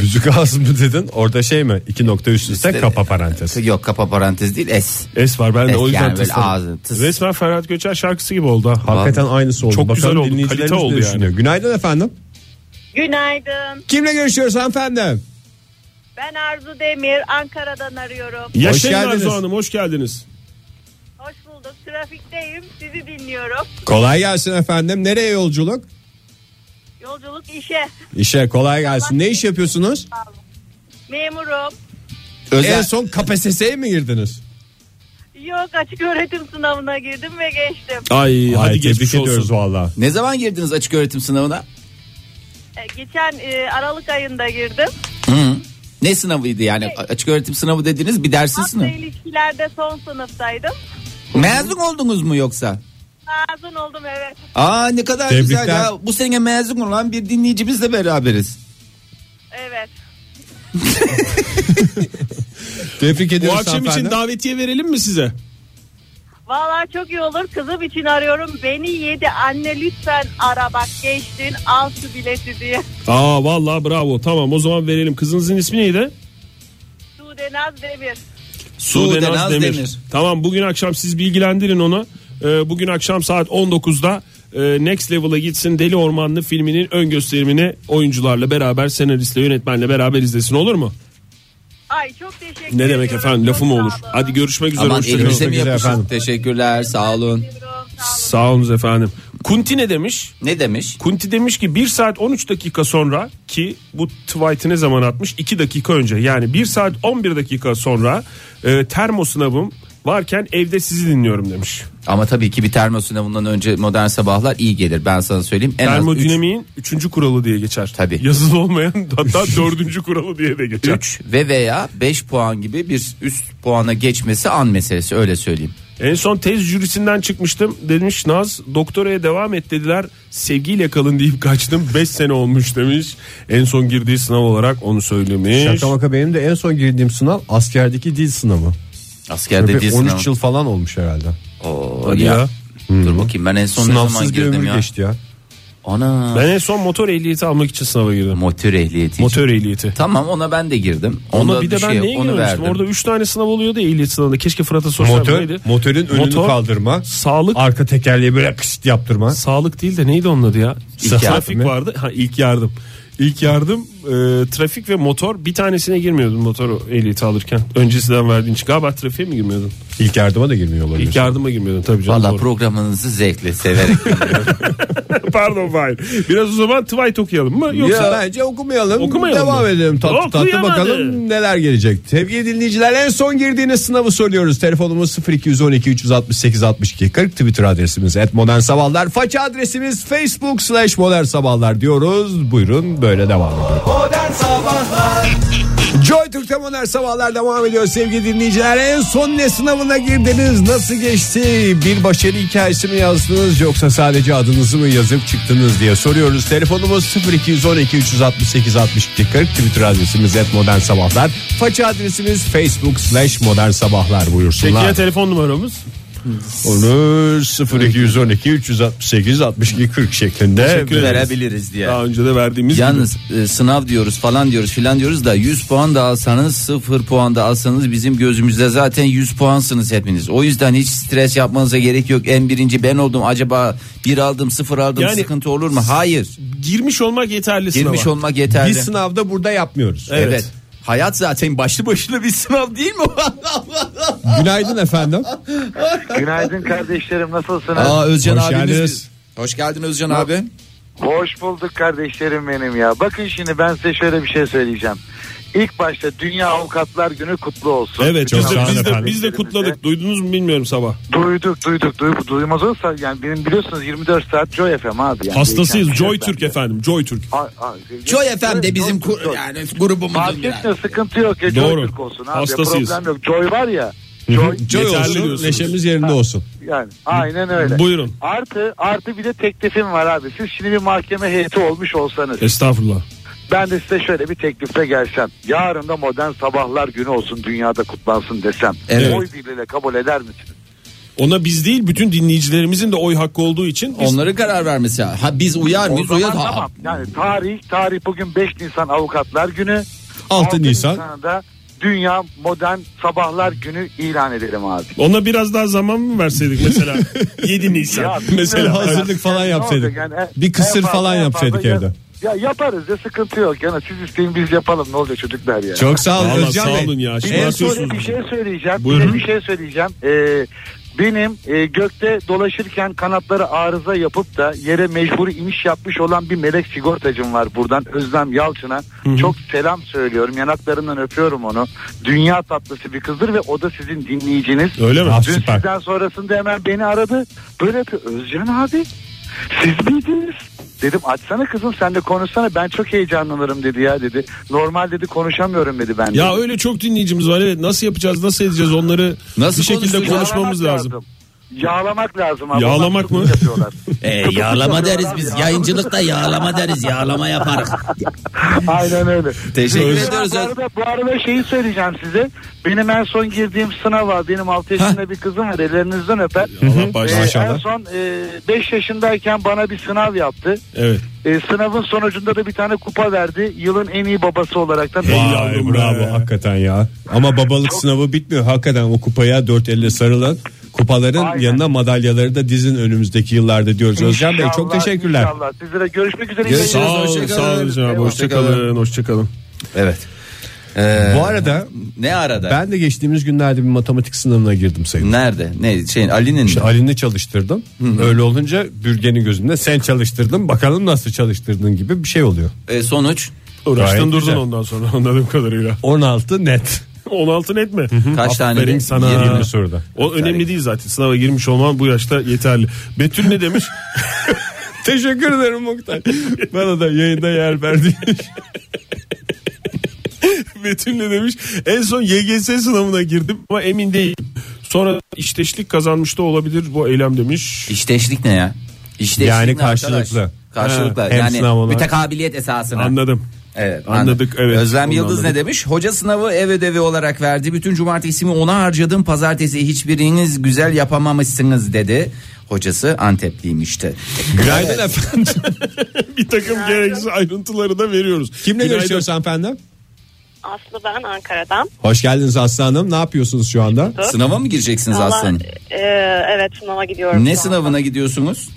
Büzük ağız mı dedin? Orada şey mi? 2.3 üstte kapa parantez.
e, Yok kapa parantez değil es.
Es var ben de
Es
o yüzden
yani böyle
tısladım.
ağzı tıs.
Resmen Ferhat Göçer şarkısı gibi oldu. ha.
Hakikaten aynısı oldu.
Çok
Bakalım
güzel oldu,
dinleyicilerimiz
kalite
ne
oldu yani.
düşünüyor? Günaydın efendim.
Günaydın.
Kimle görüşüyoruz hanımefendi?
Ben Arzu Demir, Ankara'dan arıyorum.
Yaşayın
Hoş geldiniz.
Arzu Hanım hoş geldiniz.
Hoş bulduk. Trafikteyim. Sizi dinliyorum.
Kolay gelsin efendim. Nereye yolculuk?
Yolculuk işe.
İşe kolay gelsin. Ne iş yapıyorsunuz?
Memurum.
Özel-
En son KPSS'ye mi girdiniz?
Yok açık öğretim sınavına girdim ve geçtim.
Ay,
Ay,
hadi
tebrik
geçmiş
ediyoruz
olsun.
valla.
Ne zaman girdiniz açık öğretim sınavına?
E, Geçen e, Aralık ayında girdim.
Ne sınavıydı yani? A- Açık öğretim sınavı dediniz bir dersin
Halkla
E, sınavı.
ilişkilerde son sınıftaydım.
Mezun oldunuz mu yoksa?
Mezun oldum evet.
Aa ne kadar güzel
Tebrikler.
ya. Bu sene mezun olan bir dinleyicimizle beraberiz.
Evet.
Tebrik
Bu
ediyoruz
akşam için davetiye verelim mi size?
Vallahi çok iyi olur. Kızım için arıyorum. Beni yedi anne lütfen ara bak geçtin al şu bileti diye.
Aa vallahi bravo. Tamam o zaman verelim. Kızınızın ismi neydi?
Sude Naz Demir.
Sude Naz Demir.
Tamam bugün akşam siz bilgilendirin onu. Ee, bugün akşam saat 19'da e, Next Level'a gitsin Deli Ormanlı filminin ön gösterimini oyuncularla beraber senaristle yönetmenle beraber izlesin olur mu?
Ay çok teşekkür
Ne
ediyorum.
demek efendim lafım
Çok
olur.
sağ olun.
Hadi görüşmek üzere.
Aman
hoşça kalın.
elimize mi
Güzel
yapışın?
efendim.
Teşekkürler sağ olun.
Sağ olun.
Sağ olun efendim. Kunti ne demiş?
Ne demiş?
Kunti demiş ki 1 saat 13 dakika sonra ki bu tweet'i ne zaman atmış? 2 dakika önce yani 1 saat 11 dakika sonra e, termo sınavım varken evde sizi dinliyorum demiş.
Ama tabii ki bir termo sınavından önce modern sabahlar iyi gelir. Ben sana söyleyeyim. En az üç-
Termodinamiğin 3. kuralı diye geçer.
Tabii.
Yazılı olmayan hatta 4. kuralı diye de geçer.
3 ve veya 5 puan gibi bir üst puana geçmesi an meselesi öyle söyleyeyim.
En son tez jürisinden çıkmıştım. Demiş Naz doktoraya devam et dediler. Sevgiyle kalın deyip kaçtım. 5 sene olmuş demiş. En son girdiği sınav olarak onu söylemiş.
Şaka maka benim de en son girdiğim sınav askerdeki dil sınavı.
Askerde
Böyle
dil
13
sınavı.
yıl falan olmuş herhalde.
Oo,
Hadi
ya.
ya.
Dur bakayım ben en son ne zaman
Sınavsız bir
girdim
ömür
ya.
geçti ya.
Ana.
Ben en son motor ehliyeti almak için sınava girdim.
Motor ehliyeti.
Motor ehliyeti.
Tamam ona ben de girdim. Onda
Ona bir de ben
şey,
neye
onu
girmemiştim?
verdim.
Orada 3 tane sınav oluyordu ya ehliyet sınavında. Keşke Fırat'a sorsam
Motor,
neydi?
motorun önünü
Motor,
kaldırma.
Sağlık
Arka tekerleği böyle kışt yaptırma.
Sağlık değil de neydi onun adı ya?
İlk
trafik
yardım ya.
vardı. Ha ilk yardım. İlk yardım e, trafik ve motor bir tanesine girmiyordun motor ehliyeti alırken. Öncesinden verdiğin için galiba trafiğe mi girmiyordun?
İlk yardıma da girmiyor olabilir.
İlk yardıma girmiyordun tabii canım.
Valla
doğru.
programınızı zevkle severek.
Pardon hayır. Biraz o zaman Twilight okuyalım mı? Yoksa
Ya bence okumayalım.
Okumayalım
Devam
mı?
edelim tatlı tatlı
Okuyamadı.
bakalım neler gelecek. Sevgili dinleyiciler en son girdiğiniz sınavı soruyoruz. Telefonumuz 0212 368 62 40 Twitter adresimiz @modernsabahlar. Faça adresimiz facebook slash modern sabahlar diyoruz. Buyurun böyle devam edelim. Joy Türk'te modern sabahlar devam ediyor sevgili dinleyiciler. En son ne sınavına girdiniz? Nasıl geçti? Bir başarı hikayesi mi yazdınız yoksa sadece adınızı mı yazıp çıktınız diye soruyoruz. Telefonumuz 0212 368 62 40 Twitter adresimiz @modernsabahlar. modern sabahlar. Faça adresimiz facebook slash modern sabahlar
Peki ya
buyursunlar.
telefon numaramız?
Onu 0212 368 62 40 şeklinde.
Teşekkür ederim.
verebiliriz diye.
Daha önce de verdiğimiz gibi.
Yalnız e, sınav diyoruz falan diyoruz filan diyoruz da 100 puan da alsanız 0 puan da alsanız bizim gözümüzde zaten 100 puansınız hepiniz. O yüzden hiç stres yapmanıza gerek yok. En birinci ben oldum acaba bir aldım sıfır aldım
Yani-
sıkıntı olur mu? Hayır.
Girmiş olmak yeterli
Girmiş
sınava.
olmak yeterli.
Biz sınavda burada yapmıyoruz.
evet. Hayat zaten başlı başına bir sınav değil mi?
Günaydın efendim.
Günaydın kardeşlerim nasılsınız?
Aa Özcan
Hoş
abimiz.
geldiniz.
Hoş geldin Özcan abi.
Hoş bulduk kardeşlerim benim ya. Bakın şimdi ben size şöyle bir şey söyleyeceğim. İlk başta Dünya Avukatlar Günü kutlu olsun.
Evet
Bütün
biz de,
sağ olun
biz, de,
efendim.
biz de kutladık. Duydunuz mu bilmiyorum sabah.
Duyduk duyduk duy, duymaz olursa yani benim biliyorsunuz 24 saat Joy FM abi. Yani
Hastasıyız.
Değişen bir
Joy
şey
Türk efendim. Joy Türk.
ben- Ay, ay,
Joy
Joy-
FM de bizim
Joy-
kur- yani grubumuzun
Fark
yani.
etmiyor sıkıntı yok. Ya,
Doğru.
Joy Türk olsun abi.
Hastasıyız.
Problem yok. Joy var ya. Joy,
Joy
Yeterli
olsun,
diyorsunuz.
neşemiz yerinde olsun.
yani aynen öyle.
Buyurun.
Artı artı bir de teklifim var abi. Siz şimdi bir mahkeme heyeti olmuş olsanız.
Estağfurullah.
Ben de size şöyle bir teklifle gelsem. Yarın da modern sabahlar günü olsun dünyada kutlansın desem.
Evet.
Oy birliğiyle kabul eder misiniz?
Ona biz değil bütün dinleyicilerimizin de oy hakkı olduğu için biz
Onların karar vermesi. Ha biz uyar
O
mıyız?
zaman
Uyar. Ha-
tamam. Yani tarih, tarih bugün 5 Nisan Avukatlar Günü.
6 Nisan.
Nisan'da Dünya Modern Sabahlar Günü ilan edelim abi.
Ona biraz daha zaman mı verseydik mesela 7
Ya,
Nisan
bilmiyorum
mesela
ya.
hazırlık falan
Yani ne
yapsaydık.
olacak yani? e,
Bir
En
kısır
fazla-
falan
en
yapsaydık
fazla
evde.
Ya yaparız ya sıkıntı yok. Yani siz isteyin biz yapalım ne olacak çocuklar ya.
Çok sağ olun
Vallahi
Özcan
sağ
Bey.
olun ya.
Bir
Şimdi
de
yapıyorsunuz.
şöyle bir şey söyleyeceğim.
Buyurun.
Bir, de bir şey söyleyeceğim. Ee, Benim e, gökte dolaşırken kanatları arıza yapıp da yere mecburi iniş yapmış olan bir melek sigortacım var buradan Özlem Yalçın'a. Çok selam söylüyorum. Yanaklarından öpüyorum onu. Dünya tatlısı bir kızdır ve o da sizin dinleyiciniz.
Öyle mi? Ah,
Dün
süper.
sizden sonrasında hemen beni aradı. Böyle yapıyor. Özcan abi siz miydiniz? Dedim açsana kızım sen de konuşsana ben çok heyecanlanırım dedi ya dedi. Normal dedi konuşamıyorum dedi ben.
Ya
dedi.
öyle çok dinleyicimiz var evet nasıl yapacağız nasıl edeceğiz onları
Nasıl
bir şekilde
konuşacağız?
konuşmamız
Yağlamak
lazım.
Yağlamak lazım abi.
Yağlamak
Bak, çok
mı?
yapıyorlar.
E, yağlama deriz biz. Yayıncılıkta yağlama deriz. Yağlama yaparız.
Aynen öyle.
Teşekkür
Biz-
ediyoruz.
Bu arada, bu arada şeyi söyleyeceğim size. Benim en son girdiğim sınava benim 6 yaşında bir kızım var ellerinizden öper.
Allah
Ee,
bağışlasın.
en son 5 yaşındayken bana bir sınav yaptı.
Evet.
Ee, sınavın sonucunda da bir tane kupa verdi. Yılın en iyi babası olarak da.
Vay bravo hakikaten ya. Ama babalık sınavı bitmiyor. Hakikaten o kupaya dört elle sarılan kupaların
Aynen.
yanına madalyaları da dizin önümüzdeki yıllarda diyoruz. Özcan Bey çok
İnşallah,
teşekkürler.
Inşallah. Sizlere görüşmek üzere.
Görüşürüz.
İyi
Sağ olun,
hoşça
sağ olun
kalın.
Hüseyin abi.
Eyvallah.
Hoşça kalın, hoşça kalın.
Evet. Ee,
Bu arada
ne arada?
ben de geçtiğimiz günlerde bir matematik sınavına girdim sayın.
Nerede? Ne şeyin Ali'nin mi?
İşte Ali'ni çalıştırdım. Öyle olunca bürgenin gözünde sen çalıştırdın bakalım nasıl çalıştırdın gibi bir şey oluyor.
Ee, sonuç
Uğraştın
Gayet
durdun
güzel.
ondan sonra anladığım kadarıyla.
16 net.
16 net mi?
Kaç tane
Aferin
de?
sana.
Yirmi.
20 soruda.
O önemli değil zaten. Sınava girmiş olman bu yaşta yeterli. Betül ne demiş?
Teşekkür ederim Oktay. Bana da yayında yer verdiğin için.
Betül ne demiş? En son YGS sınavına girdim ama emin değilim. Sonra işteşlik kazanmış da olabilir bu eylem demiş.
İşteşlik ne ya? İşteşlik
Yani
ne arkadaş?
karşılıklı.
Karşılıklı.
Ha, hem sınav
yani
olarak.
mütekabiliyet esasına.
Anladım.
Evet,
Anladık, evet.
Özlem
Onu
Yıldız ne
anladık.
demiş? Hoca sınavı ev ödevi olarak verdi. Bütün cumartesimi ona harcadım. Pazartesi hiçbiriniz güzel yapamamışsınız dedi. Hocası Antepliymişti.
Günaydın efendim.
Bir takım gereksiz ayrıntıları da veriyoruz.
Kimle
Günaydın.
görüşüyoruz efendim?
Aslı ben Ankara'dan.
Hoş geldiniz Aslı Hanım. Ne yapıyorsunuz şu anda?
Sınava mı gireceksiniz
Valla,
aslanım?
e, evet sınava gidiyorum.
Ne
şu an.
sınavına gidiyorsunuz?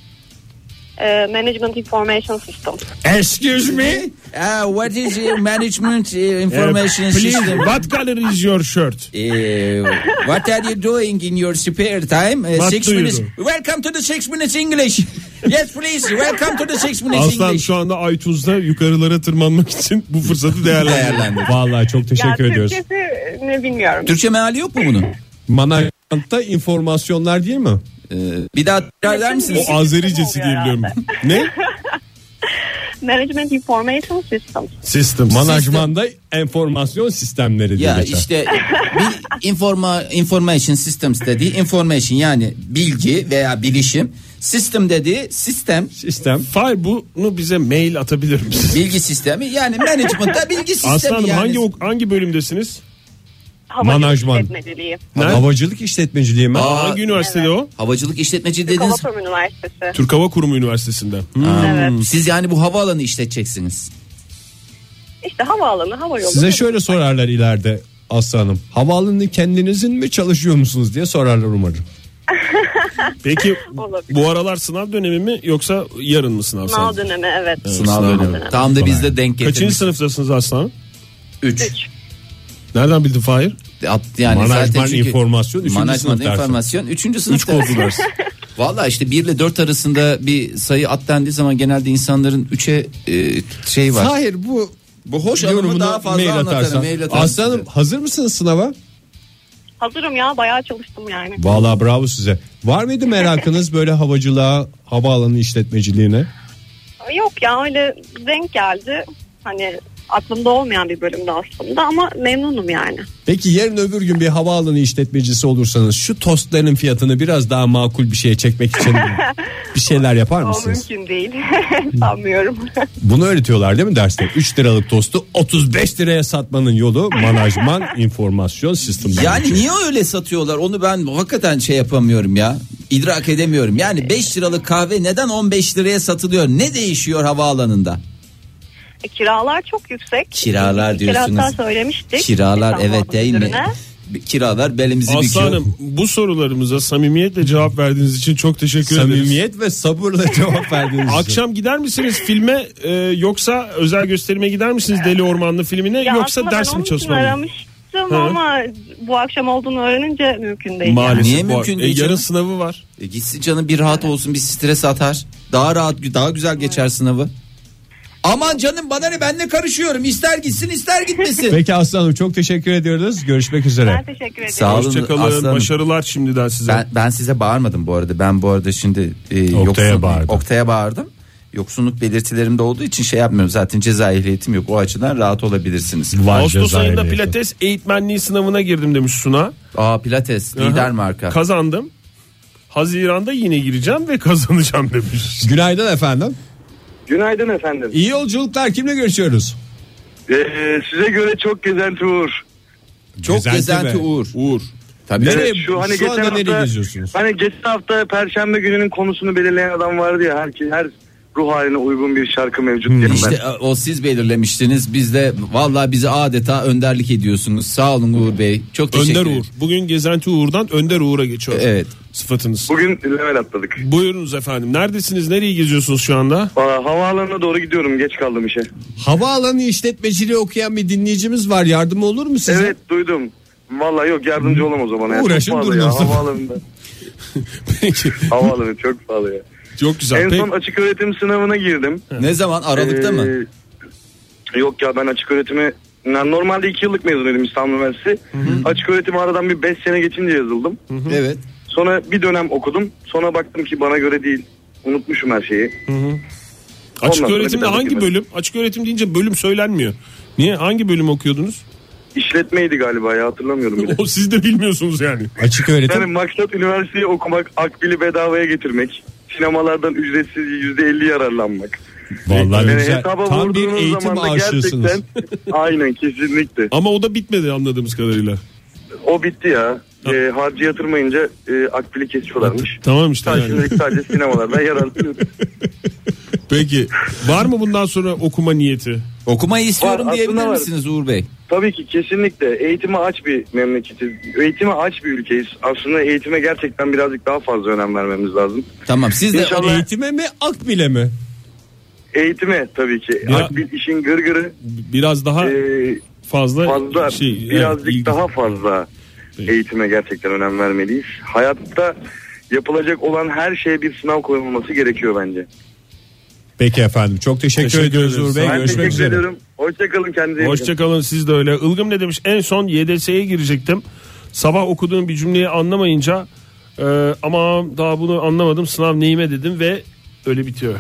E, Management Information System.
Excuse me.
Uh, what is your management eh,
Ee,
information
please,
system?
what color is your shirt?
E,
Eh, what are you doing in your spare time? Eh,
What
six
do you
minutes.
do?
Welcome to the six minutes English. yes please. Welcome to the six minutes
Aslan
English.
şu anda iTunes'da yukarılara tırmanmak için bu fırsatı değerlendiriyor.
Değerlendi.
Vallahi çok teşekkür
ya,
ediyoruz.
Türkçesi ne bilmiyorum.
Türkçe meali yok mu bunun?
Manavgat'ta informasyonlar değil mi?
Ee, bir daha tekrar eder misiniz?
O Azericesi diye biliyorum. ne?
Management Information System.
System.
Manajmanda enformasyon sistemleri diye
Ya
geçer.
işte bir informa, information systems dediği information yani bilgi veya bilişim. System dediği sistem
Sistem.
Fay bunu bize mail atabilir misin?
bilgi sistemi yani management'ta bilgi sistemi
Aslanım
yani.
hangi ok- hangi bölümdesiniz?
Havacılık
Manajman.
İşletmeciliği.
Nerede?
Havacılık işletmeciliği mi?
Aa,
hangi üniversitede o?
Havacılık işletmeci
Türk
dediniz.
Hava Üniversitesi.
Türk Hava Kurumu Üniversitesi'nden. Hı.
Evet.
Hmm. Siz yani bu havaalanı işleteceksiniz.
İşte havaalanı, hava yolu.
Size şöyle sorarlar ileride Aslı Hanım. Havaalanını kendinizin mi çalışıyor musunuz diye sorarlar umarım.
Peki
Olabilir.
bu aralar sınav dönemi mi yoksa yarın mı sınav
Sınav
sınavı?
dönemi evet.
şey Sınav dönemi. Tam da bizde denk
Kaçıncı
getirmiş.
sınıftasınız Aslanım?
3.
Nereden bildin Fahir?
Yani zaten
Management
çünkü
informasyon 3. sınıf
management
dersi.
informasyon 3. sınıf.
Üç kodlu ders.
Valla işte 1 ile 4 arasında bir sayı atlandığı zaman genelde insanların 3'e şey var.
Hayır bu
Bu hoş
yorumunu
anımı daha fazla
mail
anlatırım.
atarsan.
Mail atarım
Aslı Hanım
size.
hazır mısınız sınava?
Hazırım ya bayağı çalıştım yani.
Vallahi bravo size. Var mıydı merakınız böyle havacılığa, havaalanı işletmeciliğine?
Yok ya öyle denk geldi. Hani aklımda olmayan bir bölümde aslında ama memnunum yani.
Peki yarın öbür gün bir havaalanı işletmecisi olursanız şu tostların fiyatını biraz daha makul bir şeye çekmek için bir şeyler yapar
O
mısınız?
mümkün değil. Sanmıyorum.
Bunu öğretiyorlar değil mi derste? 3 liralık tostu 35 liraya satmanın yolu manajman informasyon sistemleri.
Yani niye öyle satıyorlar onu ben hakikaten şey yapamıyorum ya. İdrak edemiyorum. Yani 5 liralık kahve neden 15 liraya satılıyor? Ne değişiyor havaalanında?
E, Kiralar çok yüksek.
Kiralar diyorsunuz.
Kiraslar söylemiştik.
Kiralar
İstanbul
evet değil mi?
Müdürü'ne.
Kiralar belimizi büküyor.
Aslanım bu sorularımıza samimiyetle cevap verdiğiniz için çok teşekkür ederiz.
Samimiyet ve sabırla cevap verdiğiniz için.
Akşam gider misiniz filme e, yoksa özel gösterime gider misiniz Deli Ormanlı filmine
Ya
yoksa
aslında
ders
ben onun
mi
için
çalışmalı?
aramıştım alacaktım
Hı.
ama bu akşam olduğunu öğrenince mümkün değil.
Maalesef
Niye
bu-
mümkün
E,
değil
yarın
canım?
sınavı var.
E gitsin canım bir rahat olsun bir stres atar. Daha rahat daha güzel geçer sınavı. Aman canım bana ne ben ne karışıyorum ister gitsin ister gitmesin.
Peki Aslanım çok teşekkür ediyoruz. Görüşmek üzere.
teşekkür ederim.
Sağ olun
Hoşçakalın, başarılar şimdiden size.
Ben, ben size bağırmadım bu arada. Ben bu arada şimdi e,
Oktay'a
yoksun-
bağırdım.
Oktay'a bağırdım. Yoksunluk belirtilerimde olduğu için şey yapmıyorum. Zaten ceza ehliyetim yok. O açıdan rahat olabilirsiniz.
Ağustos ayında pilates eğitmenliği sınavına girdim demiş Suna.
Aa pilates lider
Aha.
marka.
Kazandım. Haziranda yine gireceğim ve kazanacağım demiş.
Günaydın efendim.
Günaydın efendim.
İyi yolculuklar. Kimle görüşüyoruz?
Ee, size göre çok gezenti Uğur.
Çok
Gezenti
gezenti
mi?
Uğur.
Uğur.
Tabii.
Evet,
Nereye- şu anda nereye geziyorsunuz?
Hani geçen hafta Perşembe gününün konusunu belirleyen adam vardı ya her, her ruh haline uygun bir şarkı mevcut derim
İşte
ben.
e, o siz belirlemiştiniz. Biz de vallahi bizi adeta önderlik ediyorsunuz. Sağ olun Uğur Bey. Çok teşekkür
Önder
ederim.
Uğur. Bugün gezenti Uğur'dan Önder Uğur'a geçiyor.
Evet.
Sıfatınız.
Bugün level atladık.
Buyurunuz efendim. Neredesiniz? Nereye geziyorsunuz şu anda?
Aa, havaalanına doğru gidiyorum geç kaldım işe.
Havaalanı işletmeciliği okuyan bir dinleyicimiz var. Yardım olur mu size?
Evet duydum. Vallahi yok yardımcı olamaz o bana. ya. Çok
Uğraşın
pahalı
durun o
ya,
zaman.
Havaalanında.
Peki.
Havaalanı çok pahalı ya.
Çok güzel.
en
Peki.
son açık öğretim sınavına girdim.
Ne zaman Aralık'ta mı?
Ee,
Ee, Yok ya ben açık öğretimi yani normalde 2 yıllık mezunuydum İstanbul Üniversitesi. Açık öğretimi aradan bir 5 sene geçince yazıldım.
Evet.
Sonra bir dönem okudum. Sonra baktım ki bana göre değil. Unutmuşum her şeyi.
Açık
Ondan sonra bir
öğretimde
tane
hangi
girmedim.
bölüm? Açık öğretim deyince bölüm söylenmiyor. Niye? Hangi bölüm okuyordunuz?
İşletmeydi galiba ya hatırlamıyorum bile.
O siz de bilmiyorsunuz yani.
Açık öğretim.
Yani maksat üniversiteyi okumak, akbili bedavaya getirmek, sinemalardan ücretsiz %50 yararlanmak.
Vallahi
Yani
güzel.
hesaba
Tam bir
vurduğunuz
eğitim
zaman da
aşığısınız.
gerçekten aynen kesinlikle.
Ama o da bitmedi anladığımız kadarıyla.
O bitti ya. E, harcı yatırmayınca e, akbili kesiyorlarmış.
Tamam işte
Sadece,
yani.
sadece sinemalardan yararlanıyoruz.
Peki. Var mı bundan sonra okuma niyeti?
Okumayı istiyorum
Var,
diyebilir
aslında var.
misiniz Uğur Bey?
Tabii ki kesinlikle eğitime aç bir memleketiz. Eğitime aç bir ülkeyiz. Aslında eğitime gerçekten birazcık daha fazla önem vermemiz lazım.
Tamam siz de
İnşallah
Eğitime mi akbile mi?
eğitime tabii ki.
Ya-
Akbil işin gırgırı
Biraz daha
e,
fazla,
fazla
şey.
birazcık
evet, ilgi-
daha fazla
Peki.
eğitime gerçekten önem vermeliyiz. Hayatta yapılacak olan her şeye bir sınav koyulması gerekiyor bence.
Peki efendim. Çok teşekkür,
Teşekkür
ediyoruz
ederiz.
Uğur Bey.
Ben
Görüşmek
teşekkür
üzere.
ediyorum. Hoşçakalın kendinize. iyi bakın.
Hoşçakalın siz de öyle. Ilgım ne demiş? En son YDS'ye girecektim. Sabah okuduğum bir cümleyi anlamayınca e, ama daha bunu anlamadım sınav neyime dedim ve öyle bitiyor.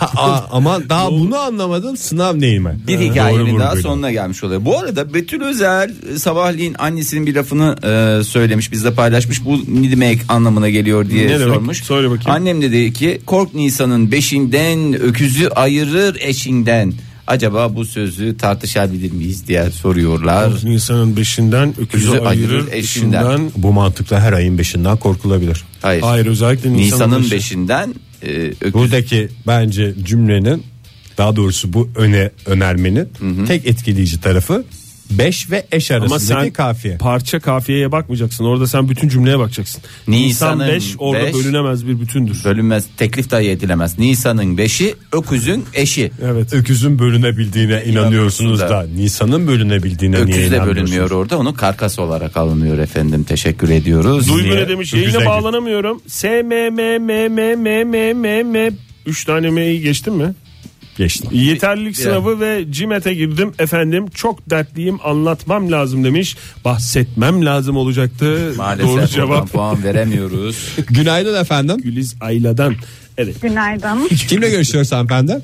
Aa, ama daha bunu anlamadım. Sınav neyime?
Bir hikayenin daha sonuna gelmiş oluyor. Bu arada Betül Özel e, sabahleyin annesinin bir lafını e, söylemiş bizle paylaşmış. Bu ne demek anlamına geliyor diye
Ne demek?
sormuş.
Söyle bakayım.
Annem dedi ki kork Nisan'ın beşinden öküzü ayırır eşinden. Acaba bu sözü tartışabilir miyiz diye soruyorlar.
Nisan'ın beşinden
Öküzü ayırır, ayırır, eşinden. eşinden.
Bu mantıkla her ayın beşinden korkulabilir.
Hayır.
Hayır özellikle
Nisan'ın beşinden e, öküz-
Buradaki bence cümlenin daha doğrusu bu öne önermenin tek etkileyici tarafı 5 ve eş
Ama
arasındaki
sen
kafiye.
parça kafiyeye bakmayacaksın. Orada sen bütün cümleye bakacaksın. Nisan
Nisan'ın
5 orada
beş-
bölünemez bir bütündür.
bölünmez teklif dahi edilemez. Nisan'ın beşi öküzün eşi.
Evet.
Öküzün bölünebildiğine inanıyorsunuz da,
da.
Nisan'ın bölünebildiğine niye
Öküz de
inanmıyorsunuz?
bölünmüyor orada. Onu karkas olarak alınıyor efendim. Teşekkür ediyoruz.
Duygu
Niye?
ne demiş?
Çok
Yayına
güzel.
bağlanamıyorum. S M M M M M M M M 3 tane M'yi geçtin mi?
Geçti.
Yeterlilik sınavı ve CİMET'e girdim. Efendim çok dertliyim anlatmam lazım demiş. Bahsetmem lazım olacaktı.
Maalesef
Doğru
Doğru
cevap
puan veremiyoruz.
Günaydın efendim.
Güliz Ayla'dan. Evet.
Günaydın.
Kimle görüşüyoruz hanımefendi?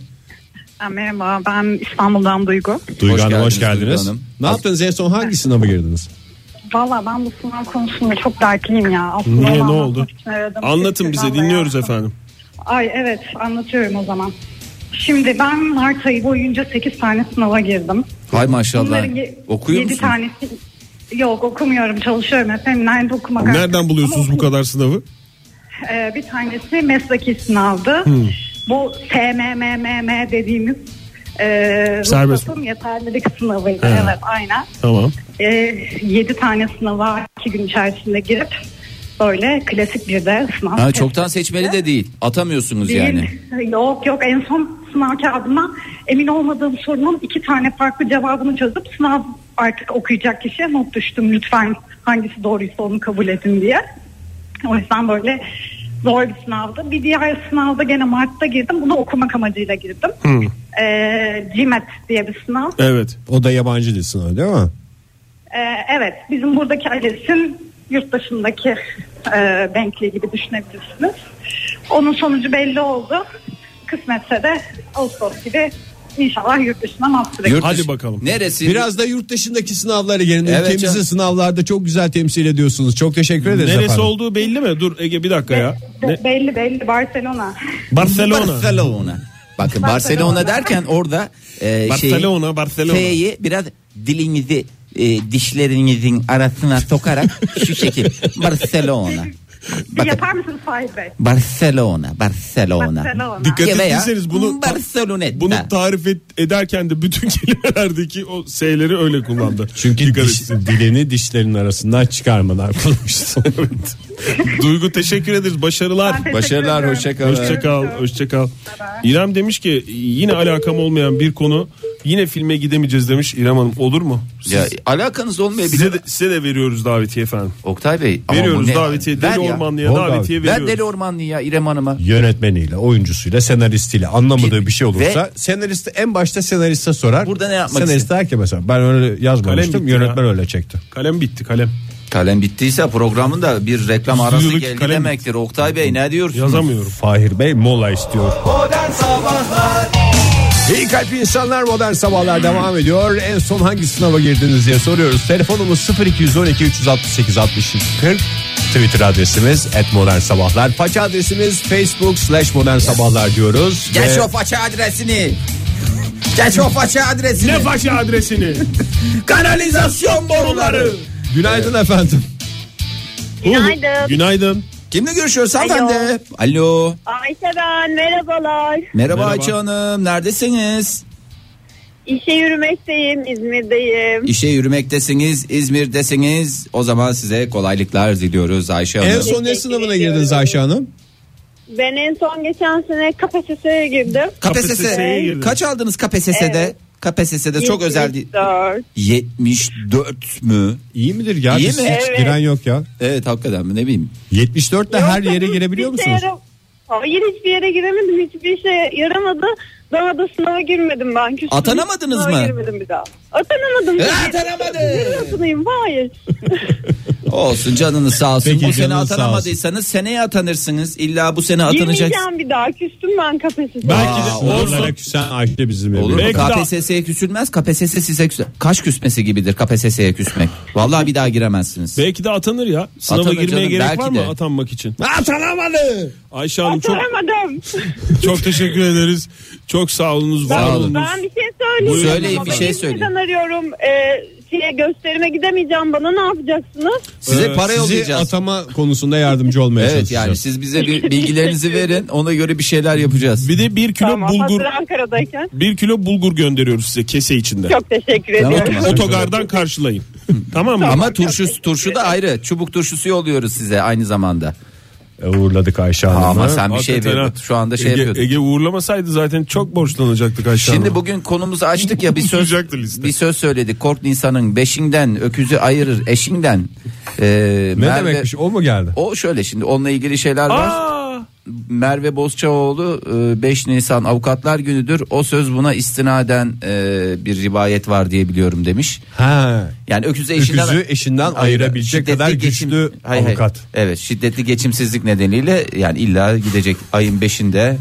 Merhaba ben İstanbul'dan Duygu.
Duygu
Hoş
Hanım hoş
geldiniz Duygu
geldiniz.
Hanım.
Ne yaptınız en son hangi sınava girdiniz?
Valla ben bu sınav konusunda çok dertliyim ya. Aslında
Niye,
onu
ne
anlatmak
oldu?
için aradım.
Anlatın
Sizden
bize
de
dinliyoruz
yaptım.
efendim.
Ay evet anlatıyorum o zaman. Şimdi ben Mart ayı boyunca 8 tane sınava girdim.
Hay maşallah.
Bunların ye-
Okuyor
yedi
musun?
tanesi yok okumuyorum çalışıyorum efendim. Nerede okumak?
Nereden buluyorsunuz bu kadar sınavı?
Ee, bir tanesi mesleki sınavdı. Bu SMMM dediğimiz e,
Serbest.
ruhsatın yeterlilik sınavıydı.
He.
Evet aynen.
Tamam.
E,
Ee,
7 tane sınava 2 gün içerisinde girip böyle klasik bir de sınav.
Ha, çoktan seçmeli de değil. Atamıyorsunuz
e,
Değil.
yani.
Yok yok en son
sınav kağıdıma emin olmadığım sorunun iki tane farklı cevabını çözüp sınav artık okuyacak kişiye not düştüm. Lütfen hangisi doğruysa onu kabul edin diye. O yüzden böyle zor bir sınavdı. Bir diğer sınavda gene Mart'ta girdim. Bunu okumak amacıyla girdim. Ee, GMAT diye bir sınav.
Evet. O da yabancı dil sınavı değil mi?
Ee, evet bizim buradaki ALES'in yurt dışındaki e, Bentley gibi düşünebilirsiniz. Onun sonucu belli oldu. Kısmetse de Ağustos gibi inşallah yurt dışına mahsur
Hadi bakalım. Neresi? Biraz da yurt dışındaki sınavlara gelin.
Evet
Ülkemizi
canım.
sınavlarda çok güzel temsil ediyorsunuz. Çok teşekkür ederiz
Neresi
efendim.
olduğu belli mi? Dur Ege bir dakika ya.
Belli belli Barcelona.
Barcelona.
Barcelona. Bakın Barcelona,
Barcelona.
derken orada e,
Barcelona,
şeyi,
Barcelona.
F'yi biraz dilinizi e, dişlerinizin arasına sokarak şu şekil Barcelona.
Bir yapar mısınız Fahir Bey?
Barcelona, Barcelona.
Barcelona.
Dikkat
Veya
ettiyseniz bunu
Barcelona.
bunu tarif et, ederken de bütün kelimelerdeki o şeyleri öyle kullandı.
Çünkü diş- dilini dişlerin arasından çıkarmalar kullanmışsın.
Duygu teşekkür ederiz. Başarılar.
teşekkür Başarılar, ediyorum. hoşça kal.
Hoşça kal. hoşça kal. İrem demiş ki yine alakam olmayan bir konu. Yine filme gidemeyeceğiz demiş İrem Hanım. Olur mu?
Ya, alakanız olmayabilir.
Size de, size de veriyoruz davetiye efendim.
Oktay Bey. ama bu
Veriyoruz
ne?
davetiye.
Ver
Deli
ya.
Ormanlı'ya
Bol
davetiye
davet. Ver
veriyoruz.
Deli Ormanlı'ya İrem Hanım'a.
Yönetmeniyle, oyuncusuyla, senaristiyle anlamadığı bir şey olursa
Ve-
senarist en başta senariste sorar.
Burada ne yapmak
Senarist der ki mesela ben öyle yazmamıştım
bitti
yönetmen öyle çekti.
Kalem bitti kalem.
Kalem bittiyse programın da bir reklam arası
Stüdyodaki
geldi
kalem-
demektir. Oktay Bey ne diyorsunuz?
Fahir Bey mola istiyor.
Modern Sabahlar
İyi kalpli insanlar modern sabahlar devam ediyor. En son hangi sınava girdiniz diye soruyoruz. Telefonumuz 0212 368 62 40. Twitter adresimiz et modern sabahlar. Faça adresimiz facebook slash modern sabahlar diyoruz.
Geç
Ve-
o faça adresini. Geç o faça adresini.
Ne faça adresini?
Kanalizasyon boruları.
Günaydın efendim.
Günaydın.
Günaydın.
Kimle görüşüyoruz hanımefendi? Alo.
Ayşe ben merhabalar.
Merhaba, Ayça Hanım. Neredesiniz?
İşe yürümekteyim İzmir'deyim.
İşe yürümektesiniz, İzmir'desiniz. O zaman size kolaylıklar diliyoruz Ayşe Hanım.
En son ne sınavına girdiniz Ayşe Hanım?
Ben en son geçen sene KPSS'ye girdim.
KPSS. Kaç aldınız KPSS'de?
Evet.
KPSS'de çok özel değil.
74.
74 mü?
İyi midir ya?
İyi
Biz
mi?
Hiç giren yok ya.
Evet hakikaten mi ne bileyim.
74 ile her yere girebiliyor
şey
Hiçbir
musunuz?
yere- Hayır hiçbir yere giremedim. Hiçbir şey yaramadı. Daha da sınava girmedim ben. Küçük
Atanamadınız
sınava
mı?
girmedim bir daha. Atanamadım.
E, atanamadı.
Atanamadım. Hayır.
Olsun canınız sağ olsun.
Peki,
bu sene
canınız sağ
atanamadıysanız seneye atanırsınız. İlla bu sene atanacaksınız.
Girmeyeceğim bir daha. Küstüm ben KPSS'ye.
Onlara küsen Ayşe bizim
Olur mu?
evimiz.
KPSS'ye küsülmez. KPSS size küs. Kaş küsmesi gibidir KPSS'ye küsmek. Vallahi bir daha giremezsiniz.
Belki de atanır ya. Sınava
Atanır
girmeye
canım,
gerek
belki
var mı
de.
atanmak için?
Atanamadı.
Ayşe Hanım çok
Atanamadım.
çok teşekkür ederiz. Çok sağ olunuz, var olunuz.
Ben bir şey söyleyeyim.
Buyurun. Söyleyin,
Ama
bir şey
ben
söyleyin.
İzmir'den arıyorum. Ee, şeye gösterime gidemeyeceğim bana ne yapacaksınız?
Size para
Ee, sizi
yollayacağız.
atama konusunda yardımcı olmaya
Evet
çalışacağız.
yani siz bize bir bilgilerinizi verin. Ona göre bir şeyler yapacağız.
Bir de bir kilo
Tamam
bulgur
hazır Ankara'dayken.
bir kilo bulgur gönderiyoruz size kese içinde.
Çok teşekkür
Tamam,
ediyorum.
tamam.
Otogardan karşılayın. tamam mı?
Ama turşu turşu da ayrı. Çubuk turşusu yolluyoruz size aynı zamanda.
E, uğurladık Ayşe Hanım'ı.
Ama sen bir şey
Hakikaten ha.
veriyordun. Şu anda şey
Ege,
yapıyordun.
Ege uğurlamasaydı zaten çok borçlanacaktık aşağı.
Şimdi bugün konumuzu açtık ya bir söz bir söz söyledik. Kork insanın beşinden öküzü ayırır eşinden. Ee,
Ne demekmiş o mu geldi?
O şöyle şimdi onunla ilgili şeyler var. Merve Bozçaoğlu e, 5 Nisan Avukatlar Günü'dür. O söz buna istinaden e, bir rivayet var diye biliyorum demiş.
Ha.
Yani öküzü
Öküzü
eşinden
eşinden
Ayıra-
ayırabilecek
şiddetli
kadar
geçim-
güçlü
Hayır, hayır.
avukat.
Evet şiddetli geçimsizlik nedeniyle yani illa gidecek ayın 5'inde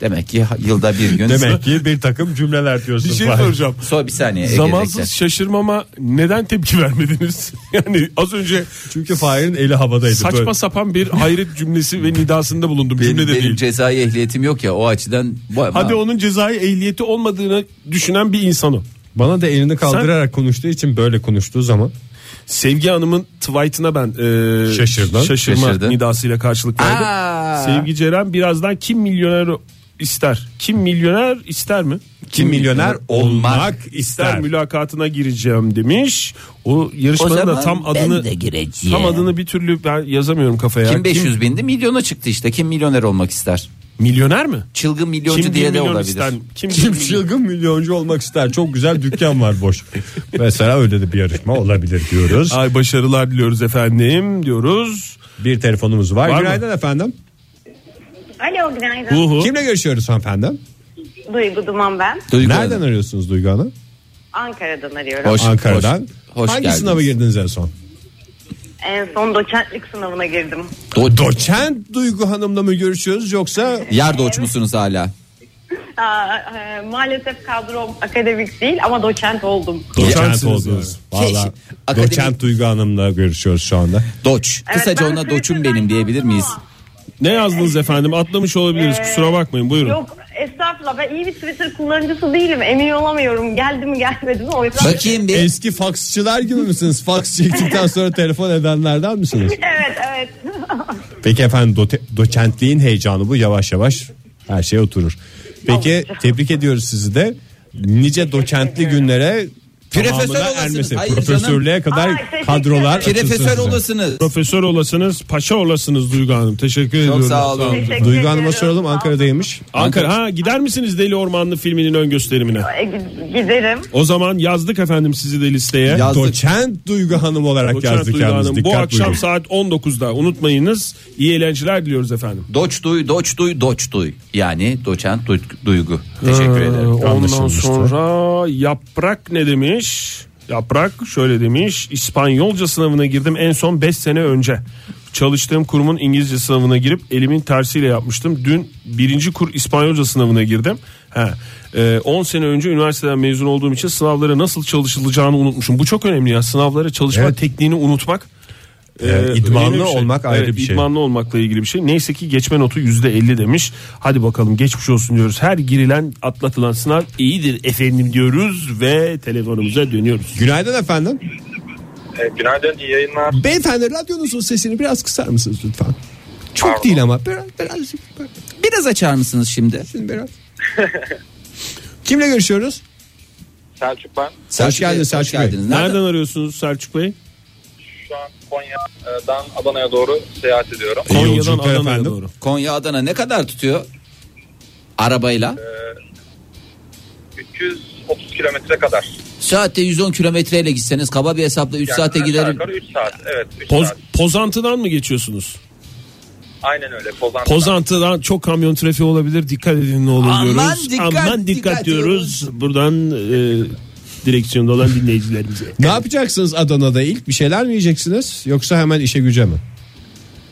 demek ki yılda bir gün.
Demek ki bir takım cümleler diyorsun.
bir şey
Fahir.
soracağım.
So bir saniye. Ege bekle.
Zamansız şaşırmama neden tepki vermediniz? yani az önce
Çünkü Fahir'in eli havadaydı.
saçma
Böyle.
sapan bir hayret cümlesi ve nidasında bulundum.
Benim,
Cümle de
benim
değil.
cezai ehliyetim yok ya o açıdan. bu-
Hadi onun cezai ehliyeti olmadığını düşünen bir insanım.
Bana da elini kaldırarak konuştuğu için böyle konuştuğu zaman
Sevgi Hanım'ın tweetine ben e,
Şaşırdın.
şaşırma
Şaşırdın.
nidasıyla karşılık verdim.
Aa.
Sevgi Ceren birazdan kim milyoner ister? Kim milyoner ister mi?
kim milyoner olmak
ister
ister.
mülakatına gireceğim demiş. O
O
yarışmanın da
zaman
tam
ben
adını
de gireceğim.
tam adını bir türlü ben yazamıyorum kafaya.
Kim 500 bindi milyona çıktı işte. Kim milyoner olmak ister?
Milyoner mi?
Çılgın milyoncu
Kim
diye
kim
de
milyon
olabilir.
ister?
Kim
Kim, kim
çılgın milyoncu olmak ister? Çok güzel dükkan var boş. Mesela öyle de bir yarışma olabilir diyoruz.
Ay başarılar diliyoruz efendim diyoruz.
Bir telefonumuz var.
mı?
Günaydın efendim.
Alo günaydın.
Kimle görüşüyoruz hanımefendi?
Duygu Duman ben.
Nereden arıyorsunuz Duygu Hanım?
Ankara'dan arıyorum.
Ankara'dan.
hoş
Hangi
geldiniz.
sınava girdiniz en son?
En son doçentlik sınavına girdim.
Doçent Duygu Hanım'la mı görüşüyoruz yoksa?
Yerde uçmuşsunuz hala.
Aa, e, maalesef kadrom akademik değil ama doçent oldum.
Doçent oldunuz. Valla doçent Duygu Hanım'la görüşüyoruz şu anda.
Doç. Kısaca ona doçum benim diyebilir miyiz?
Ne yazdınız efendim? Atlamış olabiliriz.
Ee,
Kusura bakmayın. Buyurun.
Yok estağfurullah ben iyi bir Twitter kullanıcısı değilim. Emin olamıyorum geldi mi gelmedi mi o yüzden.
Bakayım bir.
Eski faksçılar gibi misiniz? Faks çektikten sonra telefon edenlerden misiniz?
evet evet.
Peki efendim dote- doçentliğin heyecanı bu yavaş yavaş her şeye oturur. Peki tebrik ediyoruz sizi de. Nice doçentli günlere
Profesör
tamamına
olasınız.
ermesi.
Hayır canım.
Profesörlüğe kadar
Ay, teşekkür
kadrolar
ederim.
açılsın
Profesör
size.
olasınız.
Profesör olasınız, paşa olasınız Duygu Hanım. Teşekkür ediyorum.
sağ olun. Teşekkür
Duygu Hanım'a soralım Ankara'daymış.
Ankara ha gider misiniz Deli Ormanlı filminin ön gösterimine?
E, gi- giderim.
O zaman yazdık efendim sizi de listeye.
Doçent Duygu Hanım olarak
Doçent
yazdık
Duygu
yalnız.
Hanım. Bu
Dikkat
akşam
buyurun.
saat 19'da unutmayınız. İyi eğlenceler diliyoruz efendim.
Doç duy, doç duy, doç duy. Yani doçent duy- duygu. Teşekkür
Ee,
ederim.
Ondan
Anlaşılmıştır.
sonra yaprak ne demiş? Yaprak şöyle demiş. İspanyolca sınavına girdim en son 5 sene önce. Çalıştığım kurumun İngilizce sınavına girip elimin tersiyle yapmıştım. Dün birinci kur İspanyolca sınavına girdim. Ha, 10 sene önce üniversiteden mezun olduğum için sınavlara nasıl çalışılacağını unutmuşum. Bu çok önemli ya. Sınavlara çalışma
Evet.
tekniğini unutmak.
Evet,
e,
idmanlı
önemli bir şey.
olmak ayrı
Evet,
bir şey.
idmanlı olmakla ilgili bir şey. Neyse ki geçme notu %50 demiş. Hadi bakalım geçmiş olsun diyoruz. Her girilen atlatılan sınav iyidir efendim diyoruz ve telefonumuza dönüyoruz.
Günaydın efendim.
Ee, günaydın iyi yayınlar.
Beyefendi radyonuzun sesini biraz kısar mısınız lütfen? Çok değil ama biraz, biraz,
Biraz açar mısınız şimdi?
biraz. Kimle görüşüyoruz?
Selçuk ben.
hoş geldiniz Selçuk Bey.
Nereden, arıyorsunuz Selçuk Bey?
Şu an Konya'dan Adana'ya doğru seyahat ediyorum.
Konya'dan Adana'ya doğru.
Konya Adana ne kadar tutuyor? Arabayla.
330 kilometre kadar.
Saatte 110 kilometreyle gitseniz kaba bir hesapla 3 saate giderim.
3 saat evet. üç
Poz-
saat.
Pozantı'dan mı geçiyorsunuz?
Aynen öyle Pozan.
Pozantı'dan çok kamyon trafiği olabilir. Dikkat edin ne olur
Aman
diyoruz.
dikkat,
Aman dikkat,
dikkat
diyoruz. Buradan e, direksiyonda olan dinleyicilerimize.
Ne yapacaksınız Adana'da ilk bir şeyler mi yiyeceksiniz yoksa hemen işe güce mi?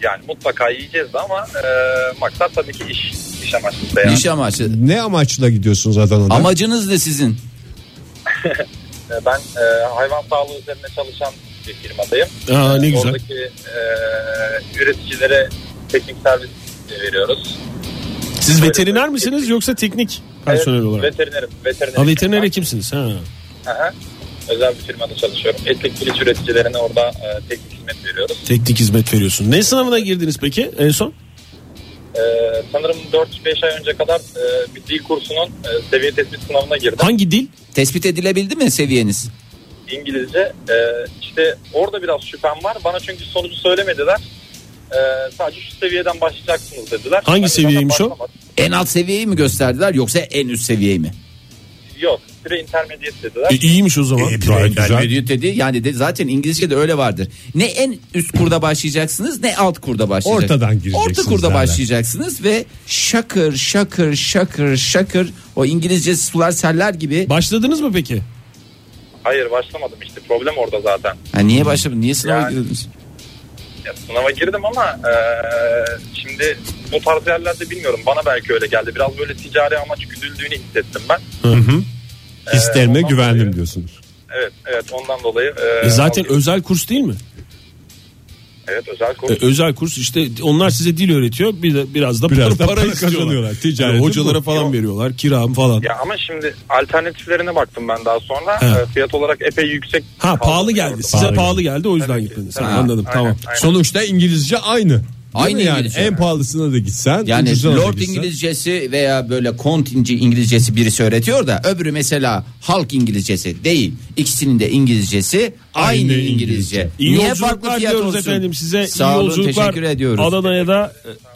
Yani mutlaka yiyeceğiz ama e, maksat tabii ki iş. iş amaçlı. Yani.
İş amaçlı.
Ne amaçla gidiyorsunuz Adana'da?
Amacınız ne sizin?
E, ben e, hayvan sağlığı üzerine çalışan bir firmadayım.
Aa, ne
E,
güzel.
Oradaki e, üreticilere teknik servis e, veriyoruz.
Siz veteriner misiniz yoksa teknik personel
Evet,
olarak?
Veterinerim. veterinerim.
Ha, veteriner hekimsiniz ha.
Aha. Özel bir firmada çalışıyorum. Etlik piliç üreticilerine orada e, teknik hizmet veriyoruz.
Teknik hizmet veriyorsun. Ne sınavına girdiniz peki en son?
E, sanırım 4-5 ay önce kadar e, bir dil kursunun e, seviye tespit sınavına girdim.
Hangi dil?
Tespit edilebildi mi seviyeniz?
İngilizce. E, işte orada biraz şüphem var. Bana çünkü sonucu söylemediler. E, sadece şu seviyeden başlayacaksınız dediler. Ben de
Hangi
zaten
seviyeymiş o?
başlamadım.
En alt seviyeyi mi gösterdiler yoksa en üst seviyeyi mi?
Yok. Süre intermediate dediler.
E, iyiymiş o zaman.
Gayet güzel. Dedi. Yani de, zaten İngilizce'de öyle vardır. Ne en üst kurda başlayacaksınız ne alt kurda başlayacaksınız.
Ortadan gireceksiniz
Orta kurda
derler.
başlayacaksınız ve şakır şakır şakır şakır o İngilizce sular seller gibi.
Başladınız mı peki?
Hayır başlamadım işte. Problem orada zaten.
Ha, niye başlamadın? Niye sınava girdiniz?
Ya, sınava girdim ama e, şimdi bu tarz yerlerde bilmiyorum. Bana belki öyle geldi. Biraz böyle ticari amaç güdüldüğünü hissettim ben.
Hı hı.
E,
Hislerime
ondan
güvendim diyorsunuz.
Evet evet ondan dolayı. e,
E zaten özel kurs değil mi?
Evet özel kurs.
E, özel kurs işte onlar size dil öğretiyor. Bir de, biraz da
Biraz
para,
da
para
para
istiyorlar.
kazanıyorlar.
Yani
Ticaretin
hocalara
bu.
falan
Yok.
veriyorlar. Kiram falan.
Ya ama şimdi alternatiflerine baktım ben daha sonra.
He.
E, fiyat olarak epey yüksek.
ha
kaldı.
pahalı geldi. Size pahalı,
Pahalı
geldi. o yüzden gittiniz. Ha,
tabii.
Anladım
Aynen,
tamam.
aynen.
Sonuçta İngilizce aynı. Değil
Aynı
mi yani
İngilizce.
en pahalısına da gitsen.
Yani
ucuzuna da
Hani Lord
gitsen.
İngilizcesi veya böyle kontinci İngilizcesi birisi öğretiyor da öbürü mesela halk İngilizcesi değil. İkisinin de İngilizcesi
Aynı
aynı, İngilizce.
İyi
Niye
yolculuklar
farklı fiyat
diyoruz
olsun?
efendim size.
Sağ
iyi
olun
yolculuklar.
teşekkür ediyoruz. Ee,
Adana'ya da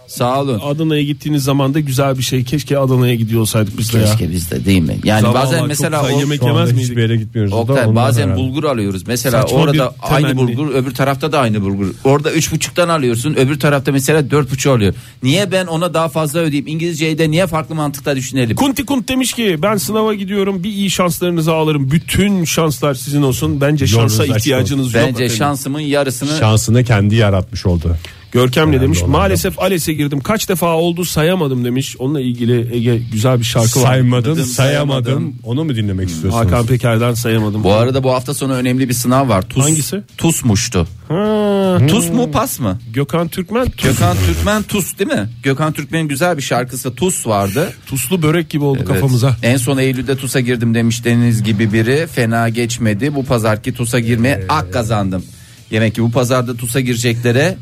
Sağ olun.
Adana'ya gittiğiniz zaman da güzel bir şey. Keşke Adana'ya gidiyor olsaydık biz de ya.
Keşke biz de değil mi? Yani
Zavallı,
bazen
çok
mesela
güzel
o-
yemek
Şu anda
yemez
hiçbir
miydik?
yere gitmiyoruz.
Oktay, bazen bulgur alıyoruz. Mesela
Saçma bir
orada aynı
temenni.
bulgur öbür tarafta da aynı bulgur. Orada üç buçuktan alıyorsun öbür tarafta mesela dört buçuk alıyor. Niye ben ona daha fazla ödeyeyim? İngilizceyi de niye farklı mantıkta düşünelim?
Kunti Kunt demiş ki ben sınava gidiyorum bir iyi şanslarınızı alırım. Bütün şanslar sizin olsun. Bence
Yolunuz
şansa
açık
ihtiyacınız
olsun.
yok.
Bence
efendim.
şansımın yarısını
Şansını kendi yaratmış oldu.
Görkem ne
Önemli
demiş?
olan
Maalesef ALES'e girdim. Kaç defa oldu sayamadım demiş. Onunla ilgili Ege güzel bir şarkı var.
Saymadım, sayamadım. Onu mu dinlemek
Hmm,
istiyorsunuz?
Hakan Peker'den sayamadım.
Bu arada bu hafta sonu önemli bir sınav var. Tus,
Hangisi?
Tusmuştu.
Ha.
Tus mu pas mı?
Gökhan Türkmen Tus.
Gökhan Türkmen Tus değil mi? Gökhan Türkmen'in güzel bir şarkısı Tus vardı.
Tuslu börek gibi oldu
Evet.
kafamıza.
En son Eylül'de TUS'a girdim demiş deniz gibi biri. Fena geçmedi. Bu pazarki TUS'a girmeye ak kazandım. Demek ki bu pazarda TUS'a gireceklere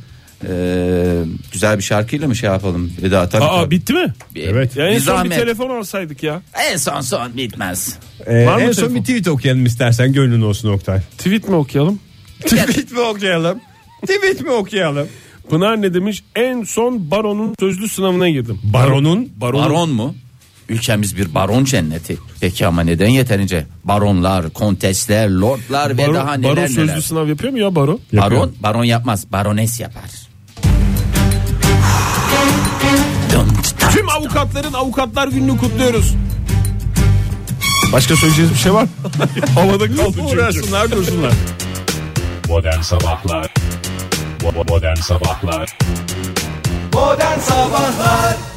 eee, güzel bir şarkıyla mı şey yapalım? Veda tabii.
Aa
tabii.
bitti mi?
Evet.
Ya en
Bir
son bir
zahmet.
telefon alsaydık ya.
En son son bitmez.
Ee,
Var mı
en son
telefon?
bir tweet okuyalım istersen gönlün olsun Oktay.
Tweet mi okuyalım?
tweet mi okuyalım? tweet mi okuyalım?
Pınar ne demiş? En son baronun sözlü sınavına girdim.
Baronun
Baronun-
Baron mu? Ülkemiz bir baron cenneti. Peki ama neden yeterince? Baronlar, kontesler, lordlar ve
Baron,
daha neler
baron sözlü
neler.
sınav yapıyor mu ya baron?
Baron, baron yapmaz. Barones yapar.
Tüm avukatların avukatlar gününü kutluyoruz. Başka söyleyeceğiniz bir şey var mı? Havada kaldı çünkü.
Uğraşsınlar, dursunlar.
Modern Sabahlar Bo- Modern Sabahlar
Modern Sabahlar